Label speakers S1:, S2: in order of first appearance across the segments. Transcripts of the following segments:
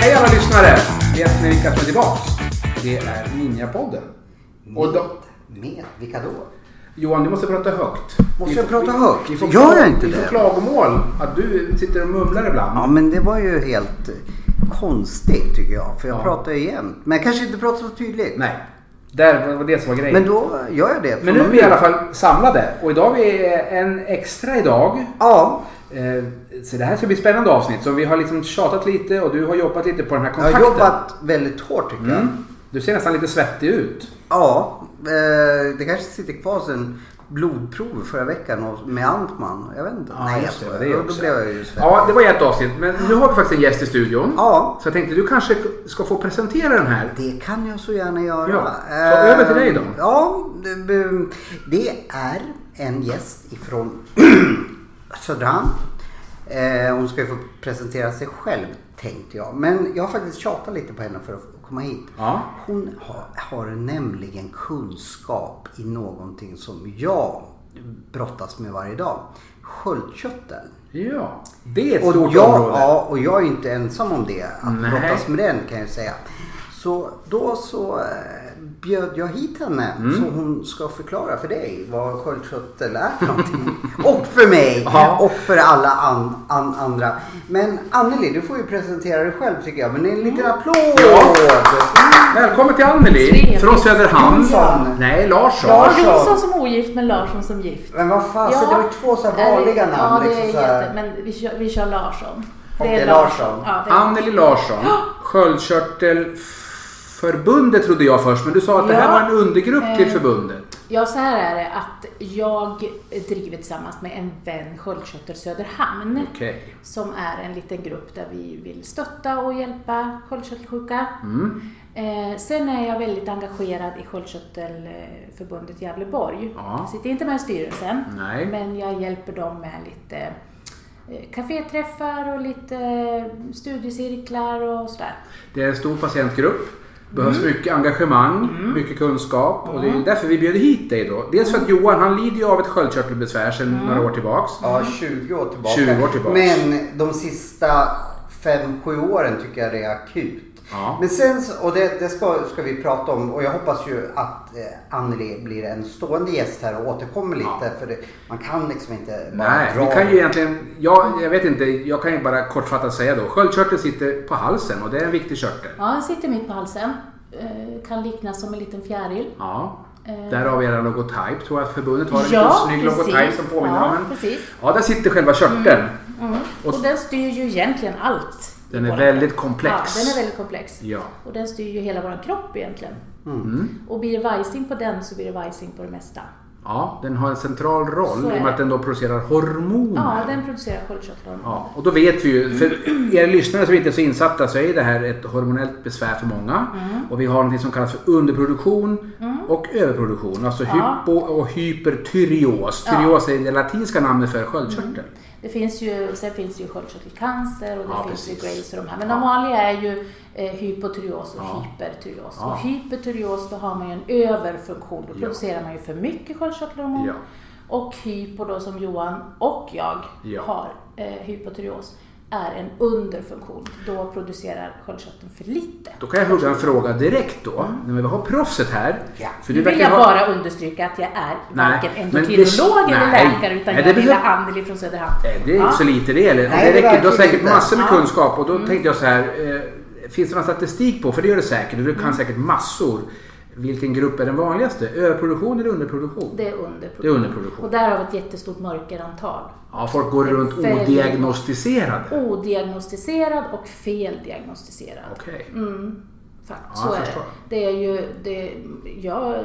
S1: Hej alla lyssnare! Vet ni vilka som är tillbaks? Det är Ninjapodden.
S2: Mm.
S1: Och de...
S2: Med? Vilka då?
S1: Johan, du måste prata högt. Vi
S2: Måste jag
S1: får-
S2: prata
S1: vi-
S2: högt?
S1: vi får-
S2: Gör jag inte
S1: vi får
S2: det?
S1: klagomål att du sitter och mumlar ibland.
S2: Ja, men det var ju helt konstigt tycker jag. För jag
S1: Ja.
S2: pratar ju jämt. Men jag kanske inte pratar så tydligt.
S1: Nej, det var det som var grejen.
S2: Men då gör jag det.
S1: Men nu är vi i alla fall samlade och idag är vi en extra idag.
S2: Ja,
S1: Eh, Så det här ska bli ett spännande avsnitt. Så vi har liksom tjatat lite och du har jobbat lite på den här
S2: jag
S1: kontakten.
S2: har jobbat väldigt hårt tycker jag.
S1: Mm. Du ser nästan lite svettig ut.
S2: Ja, eh, det kanske sitter kvar sen blodprov förra veckan och- med Antman. Jag vet inte. jag
S1: just
S2: skojar.
S1: det
S2: Då-
S1: också.
S2: Då blev jag ju svettig.
S1: Ja, det var ju ett avsnitt. Men nu har vi faktiskt en gäst i studion.
S2: Ja.
S1: Så jag tänkte du kanske ska få presentera den här.
S2: Det kan jag så gärna göra.
S1: Ja, så
S2: Eh,
S1: över till dig då.
S2: Ja, det- ehm, det är en gäst ifrån Söderhamn. Eh, Hon ska ju få presentera sig själv tänkte jag. Men jag har faktiskt tjatat lite på henne för att komma hit.
S1: Ja.
S2: Hon har, har nämligen kunskap i någonting som jag brottas med varje dag. Sköldkörteln.
S1: Ja, det är ett
S2: Och
S1: stort
S2: jag,
S1: område.
S2: ja, och jag är inte ensam om det. Att
S1: Nej.
S2: brottas med den kan jag säga. Så då så eh, bjöd jag hit henne
S1: Mm.
S2: så hon ska förklara för dig vad sköldkörtel är för någonting. och för mig
S1: Ja.
S2: och för alla an, an, andra. Men Anneli, du får ju presentera dig själv tycker jag. Men en
S3: Mm.
S2: liten applåd! Mm.
S1: Ja. Välkommen till Anneli
S3: Trevligt.
S1: från Söderhamn.
S2: Ja.
S1: Nej, Larsson.
S3: Ja,
S2: Larsson.
S3: Jonsson som ogift men Larsson som gift.
S2: Men vad fan, så Alltså, det var ju två så här
S3: Ja,
S2: vanliga namn.
S3: Ja, det är
S2: liksom, så här.
S3: jätte... Men vi kör, vi kör Larsson.
S2: Okej, Larsson.
S3: Ja, det är...
S1: Anneli Larsson, Sköldkörtelförbundet trodde jag först, men du sa att det här
S3: Ja.
S1: var en undergrupp till
S3: Eh.
S1: förbundet.
S3: ja, så här är det att jag driver tillsammans med en vän Sköldkörtel Söderhamn.
S1: Okej.
S3: Som är en liten grupp där vi vill stötta och hjälpa sköldkörtelsjuka.
S1: Mm.
S3: Eh, sen är jag väldigt engagerad i Sköldkörtelförbundet Gävleborg.
S1: Ja.
S3: Jag sitter inte med i styrelsen,
S1: Nej.
S3: men jag hjälper dem med lite eh, kaféträffar och lite eh, studiecirklar och sådär.
S1: Det är en stor patientgrupp. Behövs mycket engagemang, mycket kunskap och det är ju därför vi bjöd hit dig då. Dels för att Johan han lider ju av ett sköldkörtelbesvär sedan några år tillbaks.
S2: Ja, 20 år tillbaka.
S1: 20 år tillbaka.
S2: Men de sista 5-7 åren tycker jag det är akut.
S1: Ja.
S2: Men sen, så- och det, det ska, ska vi prata om och jag hoppas ju att eh, Anneli blir en stående gäst här och återkommer lite. För det, man kan liksom inte bara
S1: Nej,
S2: dra.
S1: vi kan ju egentligen, jag, jag vet inte, jag kan ju bara kortfattat säga då. Sköldkörteln sitter på halsen och det är en viktig körtel.
S3: Ja, den sitter mitt på halsen. Eh, kan liknas som en liten fjäril.
S1: Ja.
S3: Eh.
S1: Där har vi er logotyp tror jag att förbundet har. En
S3: Ja,
S1: liten snygg
S3: precis.
S1: logotyp som påminner
S3: Ja,
S1: om en.
S3: precis.
S1: Ja, där sitter själva körteln.
S3: Mm.
S1: Och-
S3: Och, den styr ju egentligen allt. i
S1: Den är
S3: vår-
S1: väldigt komplex.
S3: Ja, den är väldigt komplex.
S1: Ja.
S3: Och den styr ju hela vår kropp egentligen.
S1: Mm.
S3: Och blir det vajsing på den så blir det vajsing på det mesta.
S1: Ja, den har en central roll
S3: Så är
S1: i och med
S3: det.
S1: att den då producerar hormoner.
S3: Ja, den producerar sköldkörtelhormon.
S1: Ja, och då vet vi ju, för er lyssnare som inte är så insatta så är det här ett hormonellt besvär för många.
S3: Mm.
S1: Och vi har något som kallas för underproduktion och överproduktion. Alltså
S3: Ja.
S1: hypo och hypertyreos. Tyreos är det latinska namnet för sköldkörtel.
S3: Det finns ju, sen finns det ju sköldkörtelcancer och det
S1: Ja,
S3: finns ju
S1: precis.
S3: Graves och de här. Men de vanliga är ju eh, hypotyreos och
S1: Ja.
S3: hypertyreos.
S1: Ja.
S3: Och hypertyreos, då har man ju en överfunktion. Då
S1: Ja.
S3: producerar man ju för mycket sköldkörtelhormon.
S1: Ja.
S3: Och hypo då som Johan och jag
S1: Ja.
S3: har, eh, hypotyreos, är en underfunktion. Då producerar sköldkörteln för lite.
S1: Då kan jag hugga en fråga direkt då, när vi har proffset här.
S2: Ja.
S1: För
S3: Mm. Nu vill
S1: verkar
S3: jag
S1: ha-
S3: bara understryka att jag är
S1: Nej,
S3: varken
S1: men det-
S3: endokrinolog eller
S1: nej.
S3: läkare utan
S1: Nej,
S3: jag är
S1: det
S3: lilla
S1: behöver-
S3: Anneli från Söderhamn.
S1: Nej, det är inte så lite det gäller.
S2: Nej,
S1: det räcker, du
S2: det
S1: har
S2: verkligen
S1: säkert
S2: inte.
S1: massor med
S3: Ja. Mm.
S1: kunskap och då tänkte jag så här. Eh, finns det någon statistik på, för det gör det säkert, och du kan
S3: Mm.
S1: säkert massor. Vilken grupp är den vanligaste? Överproduktion eller underproduktion?
S3: Det är underproduktion.
S1: Det är underproduktion.
S3: Och där har vi ett jättestort mörkerantal.
S1: Ja, folk går runt
S3: Väldigt-
S1: odiagnostiserade.
S3: Odiagnostiserad och feldiagnostiserad.
S1: Okej.
S3: Mm. Fakt,
S1: Ja,
S3: så
S1: jag
S3: är det.
S1: förstår.
S3: Det är ju, det, ja,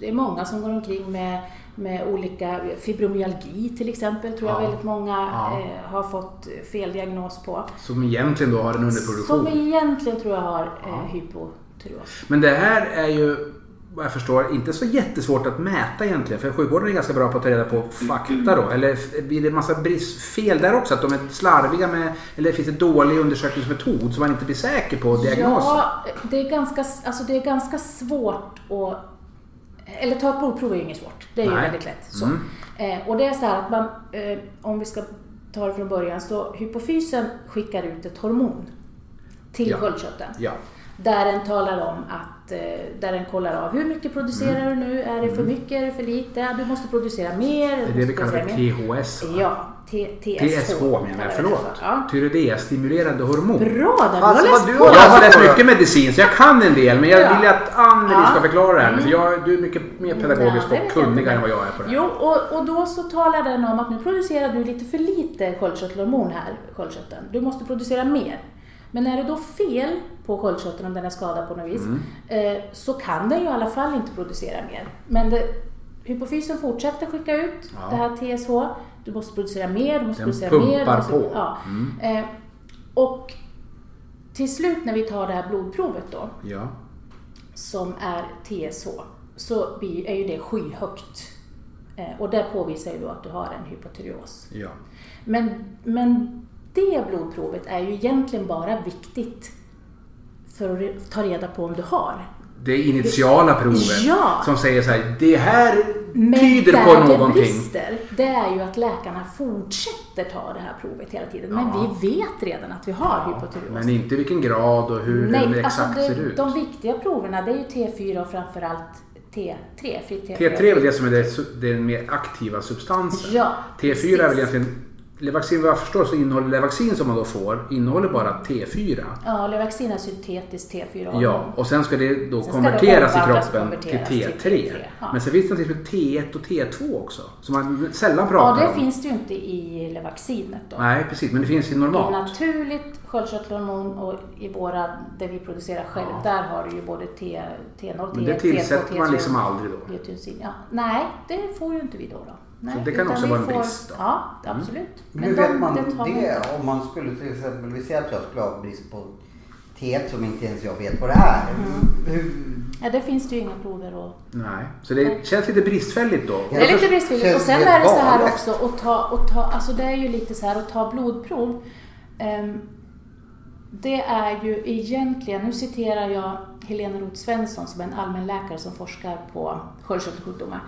S3: det är många som går omkring med, med olika, fibromyalgi till exempel tror jag
S1: Ja.
S3: väldigt många
S1: Ja.
S3: eh, har fått fel diagnos på.
S1: Som egentligen då har en underproduktion.
S3: Som egentligen tror jag har eh, hypotyreos.
S1: Men det här är ju vad jag förstår inte så jättesvårt att mäta egentligen. För sjukvården är ganska bra på att ta reda på fakta då. Eller blir det en massa bristfel där också? Att de är slarviga med, eller finns det dålig undersökningsmetod som man inte blir säker på diagnosen?
S3: Ja, det är ganska, alltså det är ganska svårt att... Eller ta ett blodprov är ju inget svårt. Det är ju
S1: Nej.
S3: väldigt lätt. Så.
S1: Mm.
S3: Eh, och det är så här att man, eh, om vi ska ta det från början, så hypofysen skickar ut ett hormon till
S1: Ja.
S3: sköldkörteln.
S1: Ja.
S3: Där den talar om att, eh, där den kollar av hur mycket producerar du nu? Är det för mycket? Är det för lite? Du måste producera mer.
S1: Mm. Det är
S3: du
S1: det
S3: måste
S1: vi kallar för
S3: producera mer.
S1: THS. va?
S3: Ja, T-
S1: TSH
S3: TSH.
S1: menar jag,
S3: kallar det
S1: förlåt.
S3: för. Ja.
S1: Tyreoidestimulerande hormon.
S3: Bra där, du
S2: Alltså,
S3: har
S2: vad
S3: läst
S2: du
S3: på.
S2: har-
S1: Jag har
S2: Ja.
S1: läst mycket medicin så jag kan en del men jag
S3: Ja.
S1: vill att Anneli ska
S3: Ja.
S1: förklara det här nu för jag, du är mycket mer pedagogisk
S3: Nej, det
S1: och
S3: vet jag
S1: kunnig
S3: inte.
S1: än vad jag är på det här.
S3: Jo, och, och då så talar den om att nu producerar du lite för lite sköldkörtelhormon här, sköldkörteln. Du måste producera mer. Men är det då fel på sköldkörteln, om den är skadad på något vis,
S1: Mm.
S3: eh, så kan den ju i alla fall inte producera mer. Men det, hypofysen fortsätter skicka ut
S1: Ja.
S3: det här TSH. Du måste producera mer, du måste
S1: Den
S3: producera mer. du
S1: pumpar
S3: måste,
S1: på. Mm.
S3: Ja. Eh, och till slut när vi tar det här blodprovet då,
S1: Ja.
S3: som är TSH så blir- är ju det skyhögt. Eh, Och det påvisar ju då att du har en hypotyreos.
S1: Ja.
S3: Men, men det blodprovet är ju egentligen bara viktigt för att re- ta reda på om du har.
S1: Det initiala provet
S3: Ja.
S1: som säger så här, det här
S3: Men
S1: tyder
S3: där
S1: på
S3: det
S1: någonting.
S3: brister, det är ju att läkarna fortsätter ta det här provet hela tiden. Men
S1: Ja.
S3: vi vet redan att vi har hypotyreos.
S1: Men
S3: alltså
S1: inte vilken grad och hur den exakt
S3: det,
S1: ser ut.
S3: de viktiga proverna det är ju T4 och framförallt T3. fritt
S1: T3 är väl det som är det- den mer aktiva substansen.
S3: Ja,
S1: T4 är väl
S3: precis.
S1: egentligen, Levaxin vad jag förstår så innehåller Levaxin som man då får, innehåller bara T4.
S3: Ja, Levaxin är syntetiskt T4-hormon.
S1: Ja, och sen ska det då
S3: Sen ska det
S1: konverteras i
S3: omvandlas och
S1: kroppen till
S3: konverteras
S1: T3.
S3: till T3, ja.
S1: Men sen finns det något som heter T1 och T2 också, som man sällan
S3: ja,
S1: pratar
S3: det
S1: om.
S3: finns det ju inte i Levaxinet då.
S1: Nej, precis, men det finns i
S3: Det är
S1: normalt.
S3: naturligt sköldkörtelhormon och i våra, det vi producerar själv, där har du ju både T, T0,
S1: Men
S3: T1,
S1: det
S3: T2,
S1: tillsätter
S3: T3.
S1: man liksom aldrig då.
S3: Biotensin, ja. Nej, det får ju inte vi då. då. Nej,
S1: Så det kan
S3: utan
S1: också
S3: vi
S1: vara en brist då? Mm.
S3: Ja, absolut.
S2: Men hur vet man
S3: tar vi
S2: det
S3: inte.
S2: om man skulle till exempel, vi säger att jag skulle ha brist på T1 som inte ens jag vet vad det är.
S3: Mm.
S2: Hur,
S3: Ja, det finns det ju inga prover att
S1: Nej, så det känns lite bristfälligt då.
S3: Det är lite
S2: Känns-
S3: bristfälligt.
S2: känns
S3: Och sen
S2: helt
S3: är det så här
S2: galet.
S3: också att ta, att ta, alltså det är ju lite så här att ta blodprov. Ehm, det är ju egentligen, nu citerar jag Helena Roth Svensson som är en allmänläkare som forskar på sköldkörtelsjukdomar.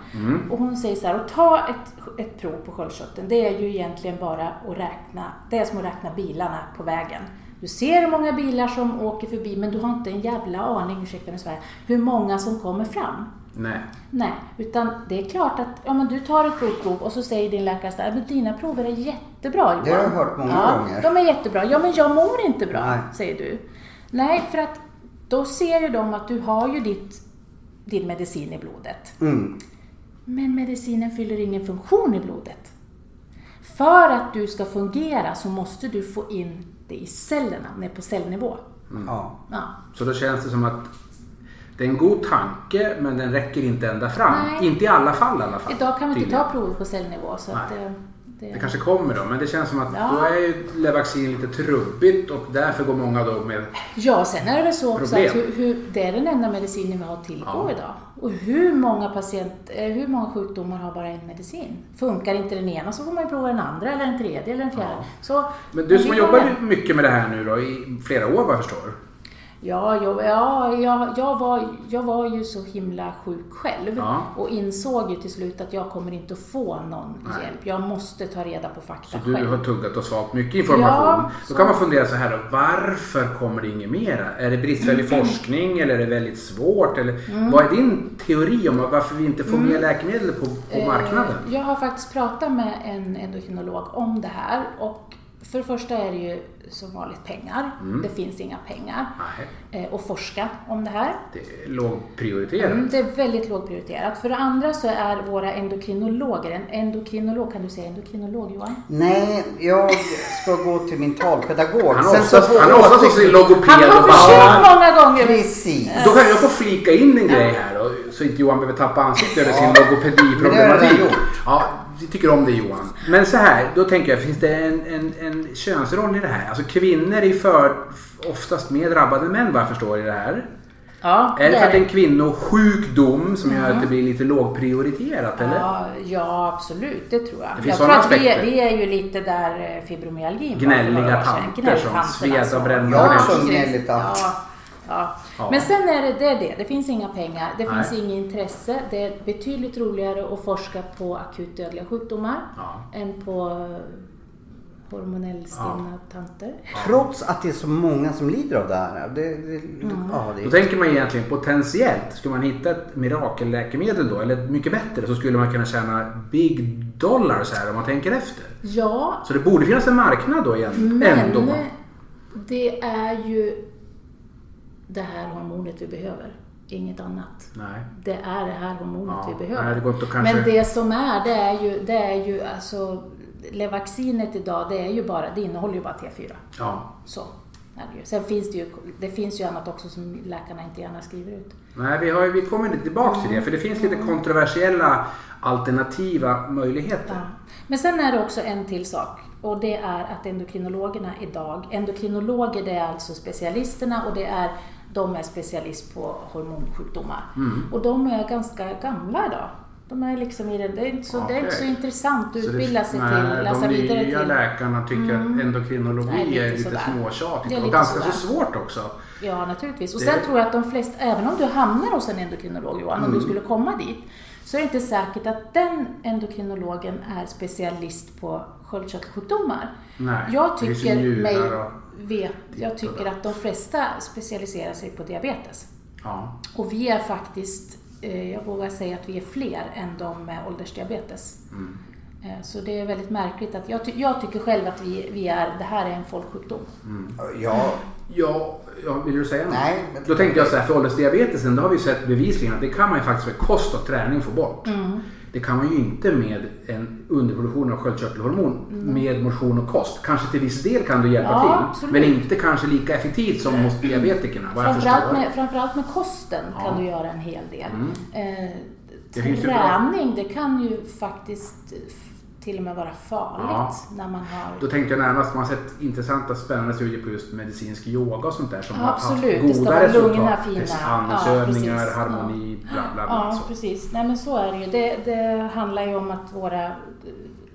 S3: Och hon säger så här, att ta ett, ett prov på sköldkörteln, det är ju egentligen bara att räkna, det är som att räkna bilarna på vägen. Du ser hur många bilar som åker förbi men du har inte en jävla aning, ursäkta mig Sverige, hur många som kommer fram.
S1: Nej.
S3: Nej, utan det är klart att ja, men du tar ett blodprov och så säger din läkare så här, men dina prover är jättebra Johan.
S2: Det har jag hört många
S3: ja,
S2: gånger.
S3: De är jättebra. Ja, men jag mår inte bra,
S2: Nej.
S3: säger du. Nej, för att då ser ju de att du har ju ditt, din medicin i blodet.
S2: mm.
S3: Men medicinen fyller ingen funktion i blodet. För att du ska fungera så måste du få in det i cellerna, ner på cellnivå.
S2: ja.
S3: Ja.
S1: Så då känns det som att det är en god tanke men den räcker inte ända fram.
S3: Nej.
S1: Inte i alla fall i alla fall.
S3: Idag kan vi inte
S1: tydligen.
S3: ta prover på cellnivå. Så att,
S1: Nej.
S3: eh,
S1: Det kanske kommer då men det känns som att
S3: Ja.
S1: då är ju Levaxin lite trubbigt och därför går många då med
S3: Ja, sen är det väl så också att
S1: Problem.
S3: hur, hur, det är den enda medicinen vi har tillgång
S1: Ja.
S3: idag. Och hur många, patient, eh, hur många sjukdomar har bara en medicin? Funkar inte den ena så får man ju prova den andra eller den tredje eller den fjärde.
S1: Ja.
S3: Så,
S1: Men du som har
S3: det-
S1: jobbat ju mycket med det här nu då i flera år vad jag förstår.
S3: Ja, jag, ja jag, jag, var, jag var ju så himla sjuk själv
S1: Ja.
S3: och insåg ju till slut att jag kommer inte att få någon
S1: Nej.
S3: hjälp. Jag måste ta reda på fakta
S1: Så du
S3: själv.
S1: har tuggat och svalt mycket information.
S3: Ja,
S1: då
S3: så-
S1: kan man fundera så här då, varför kommer det inget mera? Är det bristfällig
S3: Mm.
S1: forskning eller är det väldigt svårt? Eller, Vad är din teori om varför vi inte får mer läkemedel på, på marknaden?
S3: Mm. Eh, Jag har faktiskt pratat med en endokrinolog om det här och för det första är det ju som vanligt pengar.
S1: Mm.
S3: Det finns inga pengar
S1: Nej,
S3: eh, att forska om det här.
S1: det är lågprioriterat.
S3: Mm, Det är väldigt lågprioriterat. För det andra så är våra endokrinologer, en endokrinolog, kan du säga endokrinolog Johan?
S2: Nej, jag ska gå till min talpedagog.
S1: Han
S2: Sen så
S1: låtsas-
S2: får
S1: han
S2: jag
S1: låtsas också till logoped
S3: Han har
S1: och bara-
S3: försökt många gånger!
S2: Precis.
S1: Då kan jag få flika in en grej här då, så inte Johan behöver tappa ansiktet över sin
S2: Ja. Men det har jag
S1: logopediproblematik.
S2: redan gjort.
S1: Ja, vi tycker om det Johan. Men så här, då tänker jag, finns det en, en, en könsroll i det här? Alltså kvinnor är för, oftast mer drabbade än män vad jag förstår i det här.
S3: Ja,
S1: Är det för att det är en
S3: det.
S1: kvinnosjukdom som gör
S3: Ja.
S1: att det blir lite lågprioriterat? Eller?
S3: Ja, ja, absolut, det tror jag.
S1: Det finns
S3: jag tror
S1: sådana
S3: att vi, är-
S1: aspekter.
S3: vi är ju lite där eh, fibromyalgin var för
S1: Gnälliga
S3: några år sedan.
S1: tanter som
S3: Gnälltanterna
S1: sved och
S3: som-
S1: brände
S2: Jag är
S3: Ja,
S2: också en
S3: precis.
S2: gnällig tant.
S3: Ja, ja.
S1: Ja.
S3: Men sen är det, det är det, det finns inga pengar, det
S1: Nej.
S3: finns inget intresse. Det är betydligt roligare att forska på akut dödliga sjukdomar
S1: Ja.
S3: än på eh, hormonell stinna tanter.
S2: Trots att det är så många som lider av det här. Det, det, ja, det
S1: Då
S2: är
S1: tänker man ju egentligen potentiellt, skulle man hitta ett mirakelläkemedel då, eller ett mycket bättre, så skulle man kunna tjäna big dollars här om man tänker efter.
S3: Ja,
S1: Så det borde finnas en marknad då igen,
S3: Men
S1: ändå.
S3: det är ju det här hormonet vi behöver, inget annat.
S1: Nej.
S3: Det är det här hormonet
S1: Ja,
S3: vi behöver.
S1: nej, det går inte att kanske-
S3: Men det som är, det är ju, det är ju alltså, Levaxinet idag, det, är ju bara, det innehåller ju bara T4.
S1: Ja.
S3: Så är det ju. Sen finns det ju, det finns ju annat också som läkarna inte gärna skriver ut.
S1: Nej, vi, har, ju- vi kommer lite tillbaka till det, för det finns lite kontroversiella alternativa möjligheter.
S3: Ja. Men sen är det också en till sak och det är att endokrinologerna idag, endokrinologer det är alltså specialisterna och det är de är specialist på hormonsjukdomar.
S1: Mm.
S3: Och de är ganska gamla idag. De är liksom i den, det, är inte så, det är inte så
S1: Okej.
S3: intressant att
S1: Så det-
S3: utbilda sig
S1: nej,
S3: till, läsa
S1: de
S3: vidare
S1: nya
S3: till. Mm.
S1: läkarna tycker att endokrinologi
S3: Nej, lite
S1: är lite
S3: sådär.
S1: småtjatigt
S3: Det är
S1: och
S3: lite
S1: ganska
S3: sådär.
S1: så svårt också.
S3: Ja, naturligtvis. Och
S1: Det-
S3: sen tror jag att de flesta, även om du hamnar hos en endokrinolog Johan, om du
S1: Mm.
S3: skulle komma dit, så är det inte säkert att den endokrinologen är specialist på sköldkörtelsjukdomar.
S1: Nej,
S3: jag
S1: det finns
S3: tycker
S1: ju njurar
S3: mig
S1: och
S3: vet, jag
S1: ditt och
S3: tycker
S1: datt.
S3: att de flesta specialiserar sig på diabetes.
S1: Ja.
S3: Och vi är faktiskt, eh, jag vågar säga att vi är fler än de med åldersdiabetes.
S1: Mm.
S3: Eh, Så det är väldigt märkligt att jag, ty- jag tycker själv att vi, vi är, det här är en folksjukdom.
S2: Ja,
S1: Mm. Ja, ja, vill du säga något?
S2: Nej, men-
S1: Då tänkte jag så här, för åldersdiabetesen, då har vi sett bevisligen att det kan man ju faktiskt med kost och träning få bort.
S3: Mm.
S1: Det kan man ju inte med en underproduktion av sköldkörtelhormon med motion och kost. Kanske till viss del kan du hjälpa
S3: Mm. Ja,
S1: till,
S3: absolut.
S1: men inte kanske lika effektivt som hos diabetikerna. Vad jag
S3: Framförallt
S1: förstår. Mm.
S3: med, framförallt med kosten kan du göra en hel del. Eh,
S1: Det finns ju bra-
S3: träning, det kan ju faktiskt f- till och med vara farligt när man har...
S1: Då tänkte jag närmast, man har sett intressanta spännande studier på just medicinsk yoga och sånt där som
S3: Ja,
S1: har
S3: absolut. Det
S1: haft
S3: ska
S1: goda
S3: vara
S1: resultat.
S3: lugna, fina.
S1: Precis,
S3: Ja,
S1: Andningsövningar,
S3: precis.
S1: harmoni, bla bla bla.
S3: Ja,
S1: så.
S3: precis. Nej, men så är det ju. Det, det handlar ju om att våra eh,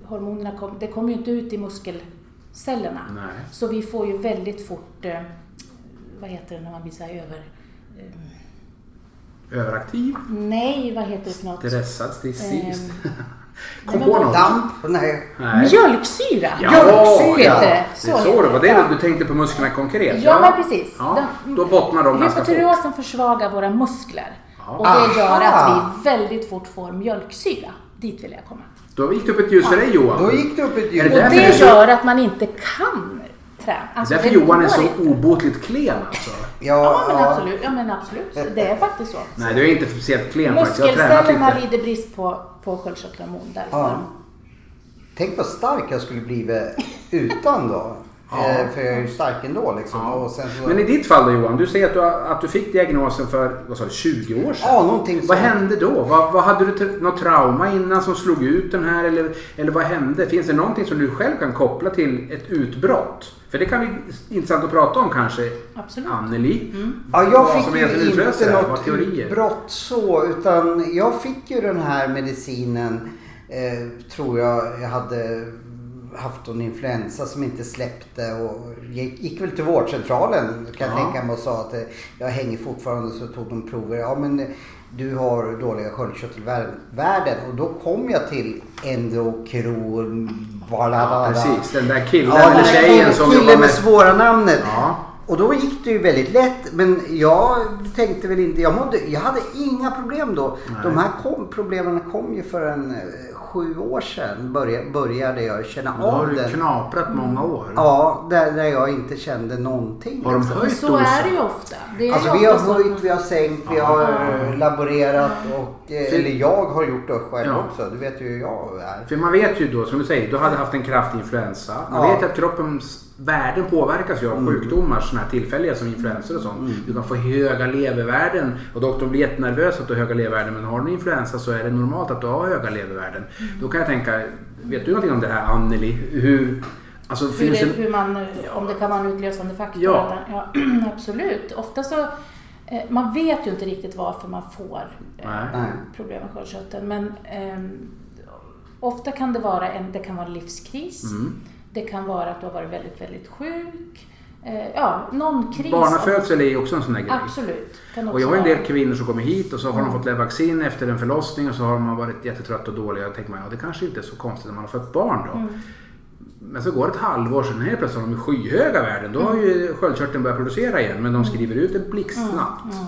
S3: hormonerna kom, det kommer ju inte ut i muskelcellerna.
S1: Nej.
S3: Så vi får ju väldigt fort, eh, vad heter det när man blir så här över... eh,
S1: Överaktiv,
S3: Nej, vad heter det för något?
S1: stressad,
S3: Ehm.
S1: stressist.
S3: Nej,
S1: Kom
S3: men
S1: på något.
S2: damp? Nej.
S1: Nej.
S3: Mjölksyra!
S1: Ja,
S2: Mjölksyra.
S1: ja.
S3: heter det.
S1: Det är
S3: Så
S1: så
S3: heter
S1: det var.
S3: det.
S1: Det är
S3: Ja.
S1: det du tänkte på musklerna konkret.
S3: Ja, men precis.
S1: Ja.
S3: De-
S1: Då bottnar de ganska fort.
S3: Hypotyreosen försvagar våra muskler
S1: Ja.
S3: och det gör
S2: Aha.
S3: att vi väldigt fort får mjölksyra. Dit vill jag komma.
S1: Då gick det upp ett ljus för dig Johan.
S2: Då gick det upp ett
S1: Är
S2: ljud.
S1: det
S3: Och
S1: därför
S3: det
S1: så-
S3: gör att man inte kan träna. Alltså,
S1: Därför
S3: det
S1: Johan är
S3: går
S1: så
S3: inte.
S1: obotligt klen alltså.
S3: Ja men, absolut. ja, men absolut. Det är faktiskt så.
S1: Nej, du är inte speciellt klen faktiskt. Jag har tränat
S3: Muskelcellerna
S1: lite.
S3: lider brist på, på sköldkörtelhormon därför.
S2: Ja. Tänk vad stark jag skulle blivit utan då. Eh, För jag är ju stark ändå liksom. Och sen så...
S1: Men i ditt fall då Johan, du säger att du, att du fick diagnosen för vad sa du, 20 år sedan.
S2: Ja, någonting
S1: Vad
S2: sånt.
S1: hände då? Vad, vad hade du tra- något trauma innan som slog ut den här? Eller, eller vad hände? Finns det någonting som du själv kan koppla till ett utbrott? För det kan bli intressant att prata om kanske.
S3: Absolut.
S1: Anneli.
S2: Ja,
S1: Vad
S2: jag
S1: som
S2: fick
S1: egentligen
S2: ju
S1: utlöste
S2: inte
S1: det här, vad
S2: något
S1: teorier.
S2: utbrott så, utan jag fick ju den här medicinen, eh, tror jag, jag hade haft en influensa som inte släppte och gick, gick väl till vårdcentralen kan jag
S1: Ja.
S2: tänka mig och sa att eh, jag hänger fortfarande så tog de prover. Ja men eh, du har dåliga sköldkörtelvärden och då kom jag till endokrol...
S1: Ja, precis, den där killen
S2: Ja,
S1: eller
S2: den där
S1: tjejen som
S2: killen
S1: jobbar
S2: med
S1: med...
S2: svåra namnet.
S1: Ja.
S2: Och då gick det ju väldigt lätt. Men jag tänkte väl inte, jag, mådde, jag hade inga problem då.
S1: Nej.
S2: De här kom, problemen kom ju för en eh, sju år sedan började, började jag känna
S1: Då har
S2: av
S1: du
S2: det.
S1: knaprat många år.
S2: Ja, där, där jag inte kände någonting.
S1: Har de
S2: liksom.
S1: höjt
S3: Så är det
S1: dosen?
S3: ju ofta. Det är
S2: Alltså
S3: ju
S2: vi har
S3: ofta så att
S2: höjt,
S3: man-
S2: vi har sänkt, vi har eh, laborerat och... eh,
S1: För-
S2: Eller jag har gjort det själv
S1: Ja.
S2: också. Du vet ju hur jag är.
S1: För man vet ju då, som du säger, du hade haft en kraftig influensa. Man
S2: Ja.
S1: vet att kroppens värden påverkas ju av sjukdomar, sådana här tillfälliga som influensor och sånt. Du kan få höga levervärden och doktorn blir jättenervös att du har höga levervärden. Men har du en influensa så är det normalt att du har höga levervärden. Då kan jag tänka, vet du någonting om det här Anneli? Hur, alltså,
S3: Hur
S1: finns
S3: det,
S1: det,
S3: hur man, om det kan vara en utlösande faktor.
S1: Ja.
S3: Ja. absolut. Ofta så Eh, Man vet ju inte riktigt varför man får eh,
S1: Nej.
S2: Nej.
S3: problem med sköldkörteln. Men ehm, ofta kan det vara en, det kan vara en livskris.
S1: Mm.
S3: Det kan vara att du har varit väldigt, väldigt sjuk. Eh, ja, någon kris.
S1: Barnafödsel är ju också en sån där grej.
S3: Absolut. Kan
S1: Och jag har ju en
S3: vara-
S1: del kvinnor som kommer hit och så har de fått lägga vaccin efter en förlossning och så har de varit jättetrötta och dåliga. Då tänker man, ja det kanske inte är så konstigt när man har fött barn då.
S3: Mm.
S1: Men så går det ett halvår sen helt plötsligt har de skyhöga värden. Då har ju sköldkörteln börjat producera igen men de skriver ut det blixtsnabbt.
S3: Mm,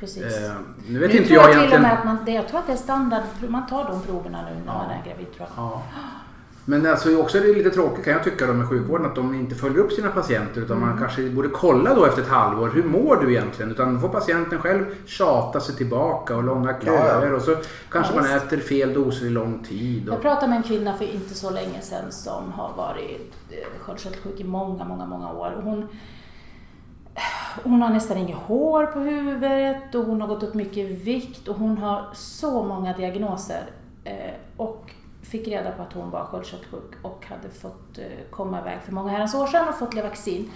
S3: precis.
S1: Eh, nu
S3: Nu
S1: vet inte
S3: tror
S1: jag
S3: jag till och
S1: egentligen...
S3: med att man, det, jag tror att det är standard, man tar de proverna nu när
S1: Ja.
S3: man är gravid tror jag.
S1: Ja. Men alltså också är det lite tråkigt kan jag tycka då med sjukvården att de inte följer upp sina patienter utan
S3: Mm.
S1: man kanske borde kolla då efter ett halvår. Hur mår du egentligen? Utan får patienten själv tjata sig tillbaka och långa köer och så kanske
S3: Ja,
S1: man äter fel doser i lång tid. Och...
S3: Jag pratade med en kvinna för inte så länge sedan som har varit eh, sköldkörtelsjuk i många, många, många år. Och hon, hon har nästan inget hår på huvudet och hon har gått upp mycket i vikt och hon har så många diagnoser. Eh, och fick reda på att hon var sköldkörtelsjuk och hade fått eh, komma iväg för många herrans år sedan och fått Levaxin.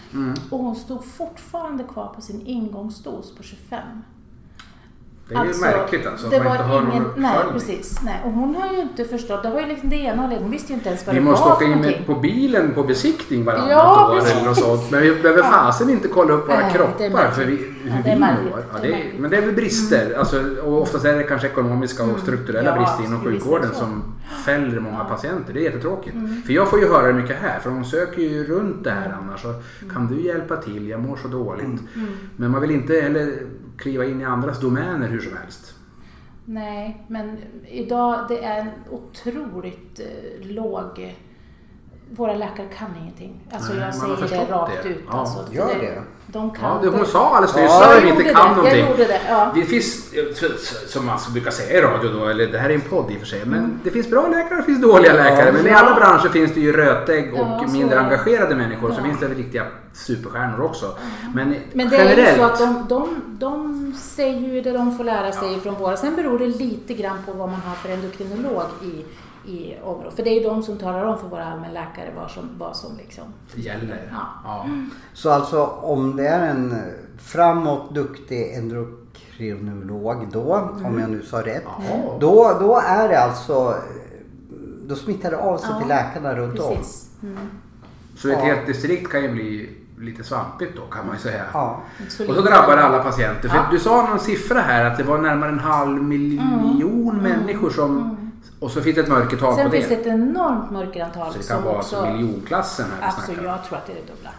S3: Och hon stod fortfarande kvar på sin ingångsdos på 25.
S1: Det är ju märkligt alltså att
S3: det
S1: man inte
S3: var
S1: har någon
S3: ingen, Nej,
S1: uppföljning.
S3: precis. Nej. Och hon har ju inte förstått. Det var ju liksom det ena och det- Hon visste ju inte ens vad
S1: Vi
S3: det
S1: måste
S3: var
S1: åka
S3: för
S1: in
S3: någonting.
S1: med på bilen på besiktning varannat
S3: Ja,
S1: år
S3: precis.
S1: eller något sånt. Men vi behöver
S3: Ja.
S1: fasen inte kolla upp våra
S3: Nej, det är
S1: kroppar för vi,
S3: märkligt.
S1: hur
S3: Ja, det är
S1: vi
S3: märkligt.
S1: mår. Ja,
S3: Det är
S1: det är,
S3: märkligt. Mm.
S1: men det är väl brister. Alltså, och oftast är det kanske ekonomiska och strukturella
S3: Ja,
S1: brister inom
S3: visst är det
S1: sjukvården
S3: så. Mm.
S1: som fäller många patienter. Det är jättetråkigt. För jag får ju höra det mycket här. För de söker ju runt det här annars.
S3: Mm.
S1: Och, kan du hjälpa till? Jag mår så dåligt. Men man vill inte heller kliva in i andras domäner hur som helst.
S3: Nej, men idag det är en otroligt eh, låg... Våra läkare kan ingenting. Alltså
S1: Nej,
S3: jag
S1: man har
S3: säger det
S1: förstått
S3: rakt
S1: det.
S3: ut.
S1: Ja,
S3: Alltså, för
S2: gör det.
S3: De kan
S1: Ja, det
S3: inte-
S1: hon sa alldeles nyss
S2: Ja,
S1: att
S3: jag
S1: vi inte
S3: gjorde
S1: kan
S3: det. Jag
S1: någonting.
S3: gjorde det, ja.
S1: Det finns, eh, som man brukar säga i radio då, eller det här är en podd i och för sig, men
S3: Mm.
S1: det finns bra läkare och det finns dåliga läkare. Men i alla branscher finns det ju rötägg och
S3: Ja, så
S1: mindre
S3: är det.
S1: engagerade människor. Så
S3: Ja. Mm.
S1: finns det väl riktiga superstjärnor också. Men,
S3: Men det
S1: generellt,
S3: är ju så att de, de, de säger ju det de får lära sig från våra. Sen beror det lite grann på vad man har för endokrinolog i, i området. För det är ju de som talar om för våra allmänläkare vad som, vad som liksom...
S1: gäller.
S3: Ja. Mm.
S1: Ja.
S2: Så alltså om det är en eh, framåt duktig endokrinolog då, om jag nu sa rätt.
S1: Ja.
S2: Då, då är det alltså, då smittar det av sig till läkarna runt om.
S3: Precis. Mm.
S1: Så ett
S2: Ja.
S1: helt distrikt kan ju bli lite svampigt då kan man ju säga.
S2: Ja.
S3: Så
S1: Och så
S3: lite.
S1: drabbar det alla patienter. För
S3: Ja. Mm.
S1: Du sa någon siffra här att det var närmare en halv miljon människor som... Och så finns det ett mörkertal
S3: Sen
S1: på det.
S3: finns det ett enormt mörkerantal
S1: Så det kan
S3: som
S1: vara
S3: också...
S1: alltså miljonklassen här vi
S3: Absolut,
S1: snackar om.
S3: jag tror att det är det dubbla.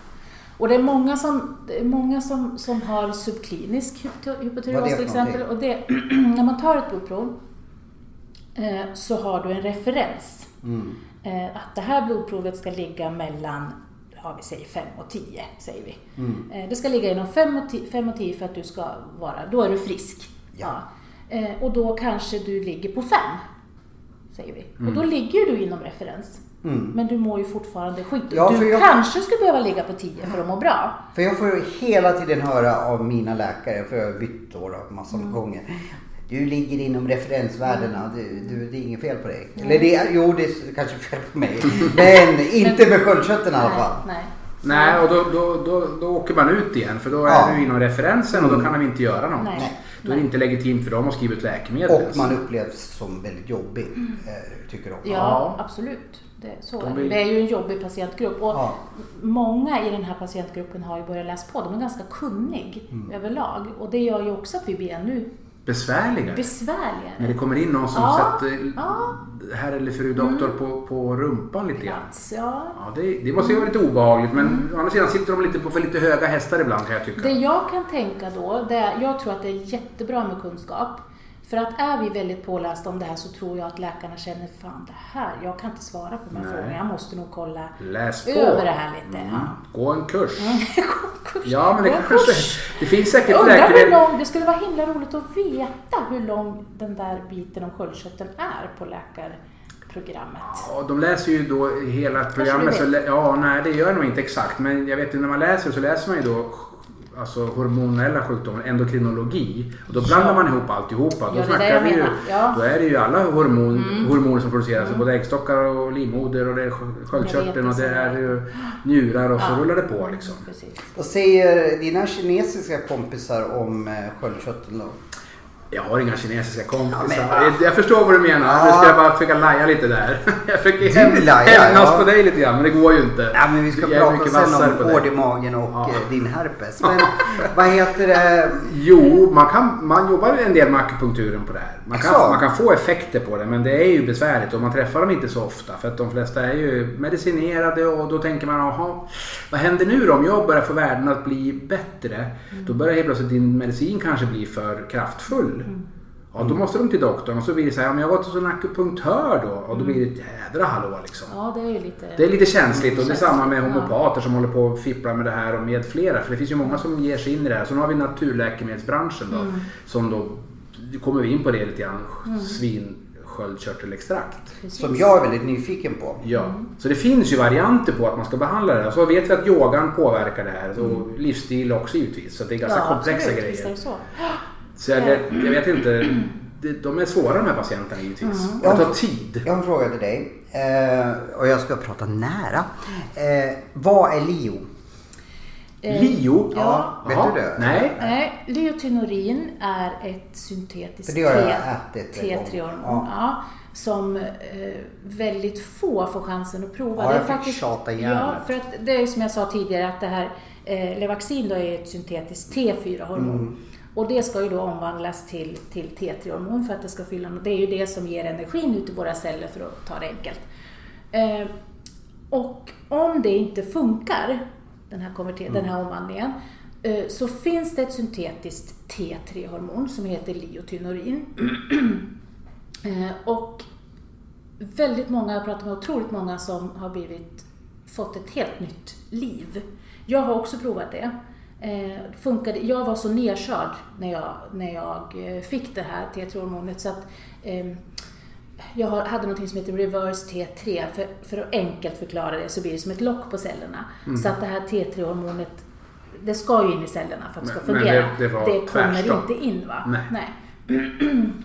S3: Och det är många som, det är många som, som har subklinisk hypot-
S2: Vad är
S3: hypotyreos
S2: det för
S3: till exempel. Och det, när man tar ett blodprov eh, så har du en referens.
S2: Mm.
S3: Eh, att det här blodprovet ska ligga mellan, ja vi säger 5 och 10, säger vi.
S2: Mm.
S3: Eh, det ska ligga inom 5 och 10 fem och 10 för att du ska vara, då är du frisk.
S2: Ja.
S3: Ja. Eh, och då kanske du ligger på 5, säger vi. Och
S2: Mm.
S3: då ligger ju du inom referens. Men du mår ju fortfarande skit.
S2: Ja, för
S3: du
S2: jag-
S3: kanske skulle behöva ligga på 10 för att må bra.
S2: För jag får hela tiden höra av mina läkare, för jag har bytt då, då massor med gånger. Du ligger inom referensvärdena, du, du, det är inget fel på dig. Eller det, är- jo det är kanske fel på mig. Men inte med sköldkörteln i alla fall.
S3: Nej,
S1: Nej, och då, då, då, då åker man ut igen för då är
S2: Ja.
S1: du inom referensen och då kan de inte göra något.
S3: Nej.
S1: Då är det inte legitimt för dem att skriva ut läkemedel. ens.
S2: Och man upplevs som väldigt jobbig, eh, tycker de.
S3: nej. Ja,
S1: Ja.
S3: absolut. Det, så
S1: De
S3: är det.
S1: vill-
S3: det är ju en jobbig patientgrupp. Och
S2: Ja.
S3: Många i den här patientgruppen har ju börjat läsa på. De är ganska kunnig
S1: Mm.
S3: överlag. Och det gör ju också att vi blir ännu
S1: Besvärligare. När det
S3: besvärligare.
S1: kommer in någon som
S3: Ja,
S1: satt eh,
S3: ja.
S1: herr eller fru doktor på, på rumpan lite grann.
S3: Plats, ja. Mm.
S1: Ja, det, det måste ju vara lite obehagligt men å andra sidan sitter de lite på för lite höga hästar ibland kan jag tycka.
S3: Det jag kan tänka då, det är, jag tror att det är jättebra med kunskap. För att är vi väldigt pålästa om det här så tror jag att läkarna känner, fan det här, jag kan inte svara på de här
S1: Nej.
S3: frågorna, jag måste nog kolla
S1: Läs på.
S3: över det här lite.
S1: Mm.
S3: Ja.
S1: Gå en kurs.
S3: Konkurs.
S1: Ja, men det,
S3: Gå
S1: kan
S3: en
S1: kanske,
S3: kurs.
S1: det finns säkert
S3: Jag undrar hur
S1: läkemedel.
S3: lång, det skulle vara himla roligt att veta hur lång den där biten om sköldkörteln är på läkarprogrammet.
S1: Ja, de läser ju då hela
S3: du
S1: programmet. Så
S3: vet.
S1: lä- ja, nej, det gör jag nog inte exakt. Men jag vet ju när man läser så läser man ju då alltså hormonella sjukdomar, endokrinologi. Och då blandar
S3: Ja.
S1: man ihop alltihopa. Då
S3: Ja, det är det
S1: snackar
S3: jag
S1: vi ju,
S3: menar. Ja.
S1: Då är det ju alla hormon, hormoner som produceras. Både äggstockar och livmoder och det är skö- sköldkörteln och det är ju njurar och så rullar det på liksom.
S3: Mm, Precis.
S2: Vad säger dina kinesiska kompisar om eh, sköldkörteln då?
S1: Jag har inga kinesiska kompisar.
S2: Ja, men va?
S1: jag, jag förstår vad du menar.
S2: Ja.
S1: Nu ska jag bara försöka laja lite där. Jag försöker
S2: Du
S1: häm-
S2: lajar,
S1: hämnas
S2: ja.
S1: på dig lite grann, men det går ju inte.
S2: Ja, men vi ska
S1: Jag är mycket
S2: prata
S1: vassare
S2: sen
S1: på
S2: om
S1: dig.
S2: hård i magen och
S1: Ja.
S2: eh, din herpes. Men vad heter det?
S1: Jo, man, kan, man jobbar en del med akupunkturen på det här. Man kan,
S2: Jaså?
S1: man kan få effekter på det men det är ju besvärligt och man träffar dem inte så ofta. För att de flesta är ju medicinerade och då tänker man jaha, vad händer nu då? Om jag börjar få värden att bli bättre då börjar helt plötsligt din medicin kanske bli för kraftfull. Ja, då måste de till doktorn och så blir det så här, "Ja, men jag har gått hos en akupunktör då och då blir det ett jädra hallå liksom.
S3: Ja, det är ju lite...
S1: Det är lite känsligt och det är samma med
S3: Känsligt, ja.
S1: homopater som håller på och fipplar med det här och med flera. För det finns ju många som ger sig in i det här. Så nu har vi naturläkemedelsbranschen
S3: Mm.
S1: då. Som då, nu kommer vi in på det lite grann, svinsköldkörtelextrakt.
S3: Precis.
S2: Som jag är väldigt nyfiken på.
S1: Ja,
S3: Mm.
S1: så det finns ju varianter på att man ska behandla det här. Så vet vi att yogan påverkar det här och livsstil också givetvis. Så det är ganska komplexa
S3: Mm. absolut, Visst är
S1: grejer.
S3: det så.
S1: Så jag, vet- jag vet inte, det- de är svåra de här patienterna givetvis.
S3: Mm.
S1: Och det tar tid.
S2: Jag har en fråga till dig. Eh, och jag ska prata nära. Eh, vad är LIO?
S3: Eh,
S1: Lio?
S3: Ja.
S2: Vet
S1: Jaha,
S2: du det?
S1: Nej.
S3: Nej, leotynorin är ett syntetiskt
S2: För det har jag
S3: te-
S2: ätit en gång.
S3: T3-hormon.
S2: Ja.
S3: Ja. som eh, väldigt få får chansen att prova.
S2: Ja, jag fick tjata ihjäl
S3: Ja,
S2: mig.
S3: för att det är ju som jag sa tidigare att det här eh, Levaxin då är ett syntetiskt T4-hormon.
S2: Mm.
S3: Och det ska ju då omvandlas till, till T3-hormon för att det ska fylla Det är ju det som ger energin ut i våra celler för att ta det enkelt. Eh, och om det inte funkar, den här, konverte-
S2: Mm.
S3: den här omvandlingen, eh, så finns det ett syntetiskt T3-hormon som heter liotynorin. Eh, och väldigt många, jag pratar med otroligt många som har blivit, fått ett helt nytt liv. Jag har också provat det. Eh, funkade, jag var så nedkörd när jag, när jag eh, fick det här T3-hormonet så att ehm, jag har- hade något som heter reverse T3. För, för att enkelt förklara det så blir det som ett lock på cellerna.
S1: Mm.
S3: Så att det här T3-hormonet, det ska ju in i cellerna för att det ska
S1: Men- men
S3: fungera.
S1: det- det var
S3: kommer
S1: tvärstopp.
S3: inte in va?
S1: Nej.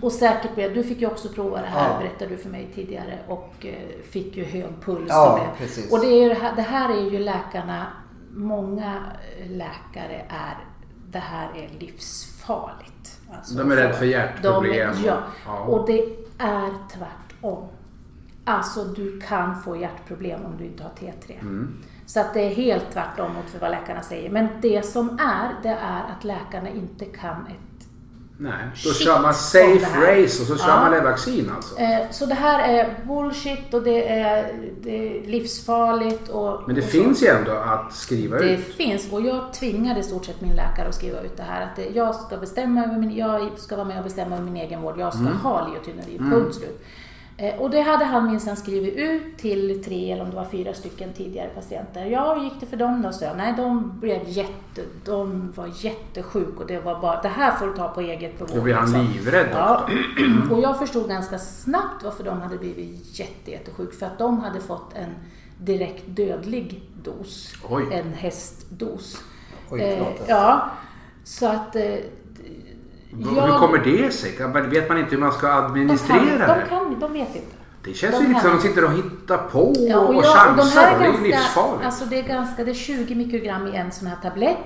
S3: Och säkert blev, du fick ju också prova det här
S2: Ja.
S3: berättade du för mig tidigare och eh, fick ju hög puls.
S2: Ja,
S3: och det.
S2: precis.
S3: Och det, är ju det, här, det här är ju läkarna, många eh, läkare är, det här är livsfarligt. Alltså
S1: De är rädda för hjärtproblem.
S3: De är- ja.
S1: Ja.
S3: och det är tvärtom. Alltså du kan få hjärtproblem om du inte har T3.
S1: Mm.
S3: Så att det är helt tvärtom mot vad läkarna säger. Men det som är, det är att läkarna inte kan ett
S1: Nej, då
S3: Shit,
S1: kör man
S3: om det
S1: safe
S3: här.
S1: race och så kör
S3: Ja.
S1: man Levaxin alltså.
S3: Eh, Så det här är bullshit och det är, det är livsfarligt. Och,
S1: Men det
S3: och
S1: finns ju ändå att skriva
S3: Så. Det
S1: ut.
S3: finns och jag tvingade i stort sett min läkare att skriva ut det här att det- jag ska bestämma över min, jag ska vara med och bestämma över min egen vård. Jag
S1: Mm.
S3: ska ha leotyneri, punkt slut. Eh, Och det hade han minsann skrivit ut till tre eller om det var fyra stycken tidigare patienter. Ja, hur gick det för dem då? Så jag, nej, de blev jätte, de var jättesjuka och det var bara, det här får du ta på eget bevåg.
S1: Då blir han
S3: liksom.
S1: livrädd
S3: Ja,
S1: också.
S3: och jag förstod ganska snabbt varför de hade blivit jätte, jättesjuka. För att de hade fått en direkt dödlig dos.
S1: Oj.
S3: En hästdos.
S2: Oj,
S3: eh,
S2: förlåt.
S3: ja, så att... Eh,
S1: V- Hur kommer det sig? Kan man- Vet man inte hur man ska
S3: de kan,
S1: administrera
S3: de
S1: det?
S3: kan, de vet inte.
S1: Det känns
S3: de
S1: ju lite som
S3: kan.
S1: att de sitter och hittar på
S3: Ja,
S1: och,
S3: jag-
S1: chansar. Det är ju
S3: ganska,
S1: livsfarligt.
S3: alltså det är ganska, det är 20 mikrogram i en sån här tablett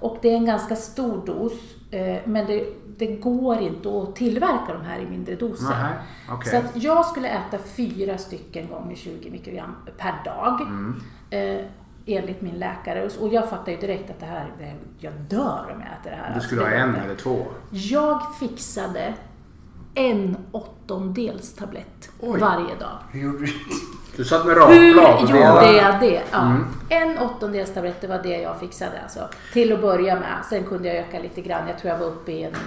S3: och det är en ganska stor dos. eh, Men det, det går inte att tillverka de här i mindre doser.
S1: Nähä, okej.
S3: Så att jag skulle äta fyra stycken gånger 20 mikrogram per dag.
S1: Mm.
S3: Eh, enligt min läkare. Och jag fattar ju direkt att det här, det, jag dör om jag äter det här.
S1: Du
S3: Alltså,
S1: skulle
S3: det
S1: ha
S3: går
S1: en
S3: inte.
S1: eller två.
S3: Jag fixade en åttondels tablett
S1: Oj.
S3: varje dag.
S2: Hur gjorde du?
S1: Du satt med
S3: Hur
S1: rakblad och
S3: gjorde
S1: delade.
S3: jag det? Ja.
S1: Mm.
S3: En åttondels tablett, det var det jag fixade alltså. Till att börja med. Sen kunde jag öka lite grann. Jag tror jag var uppe i en, en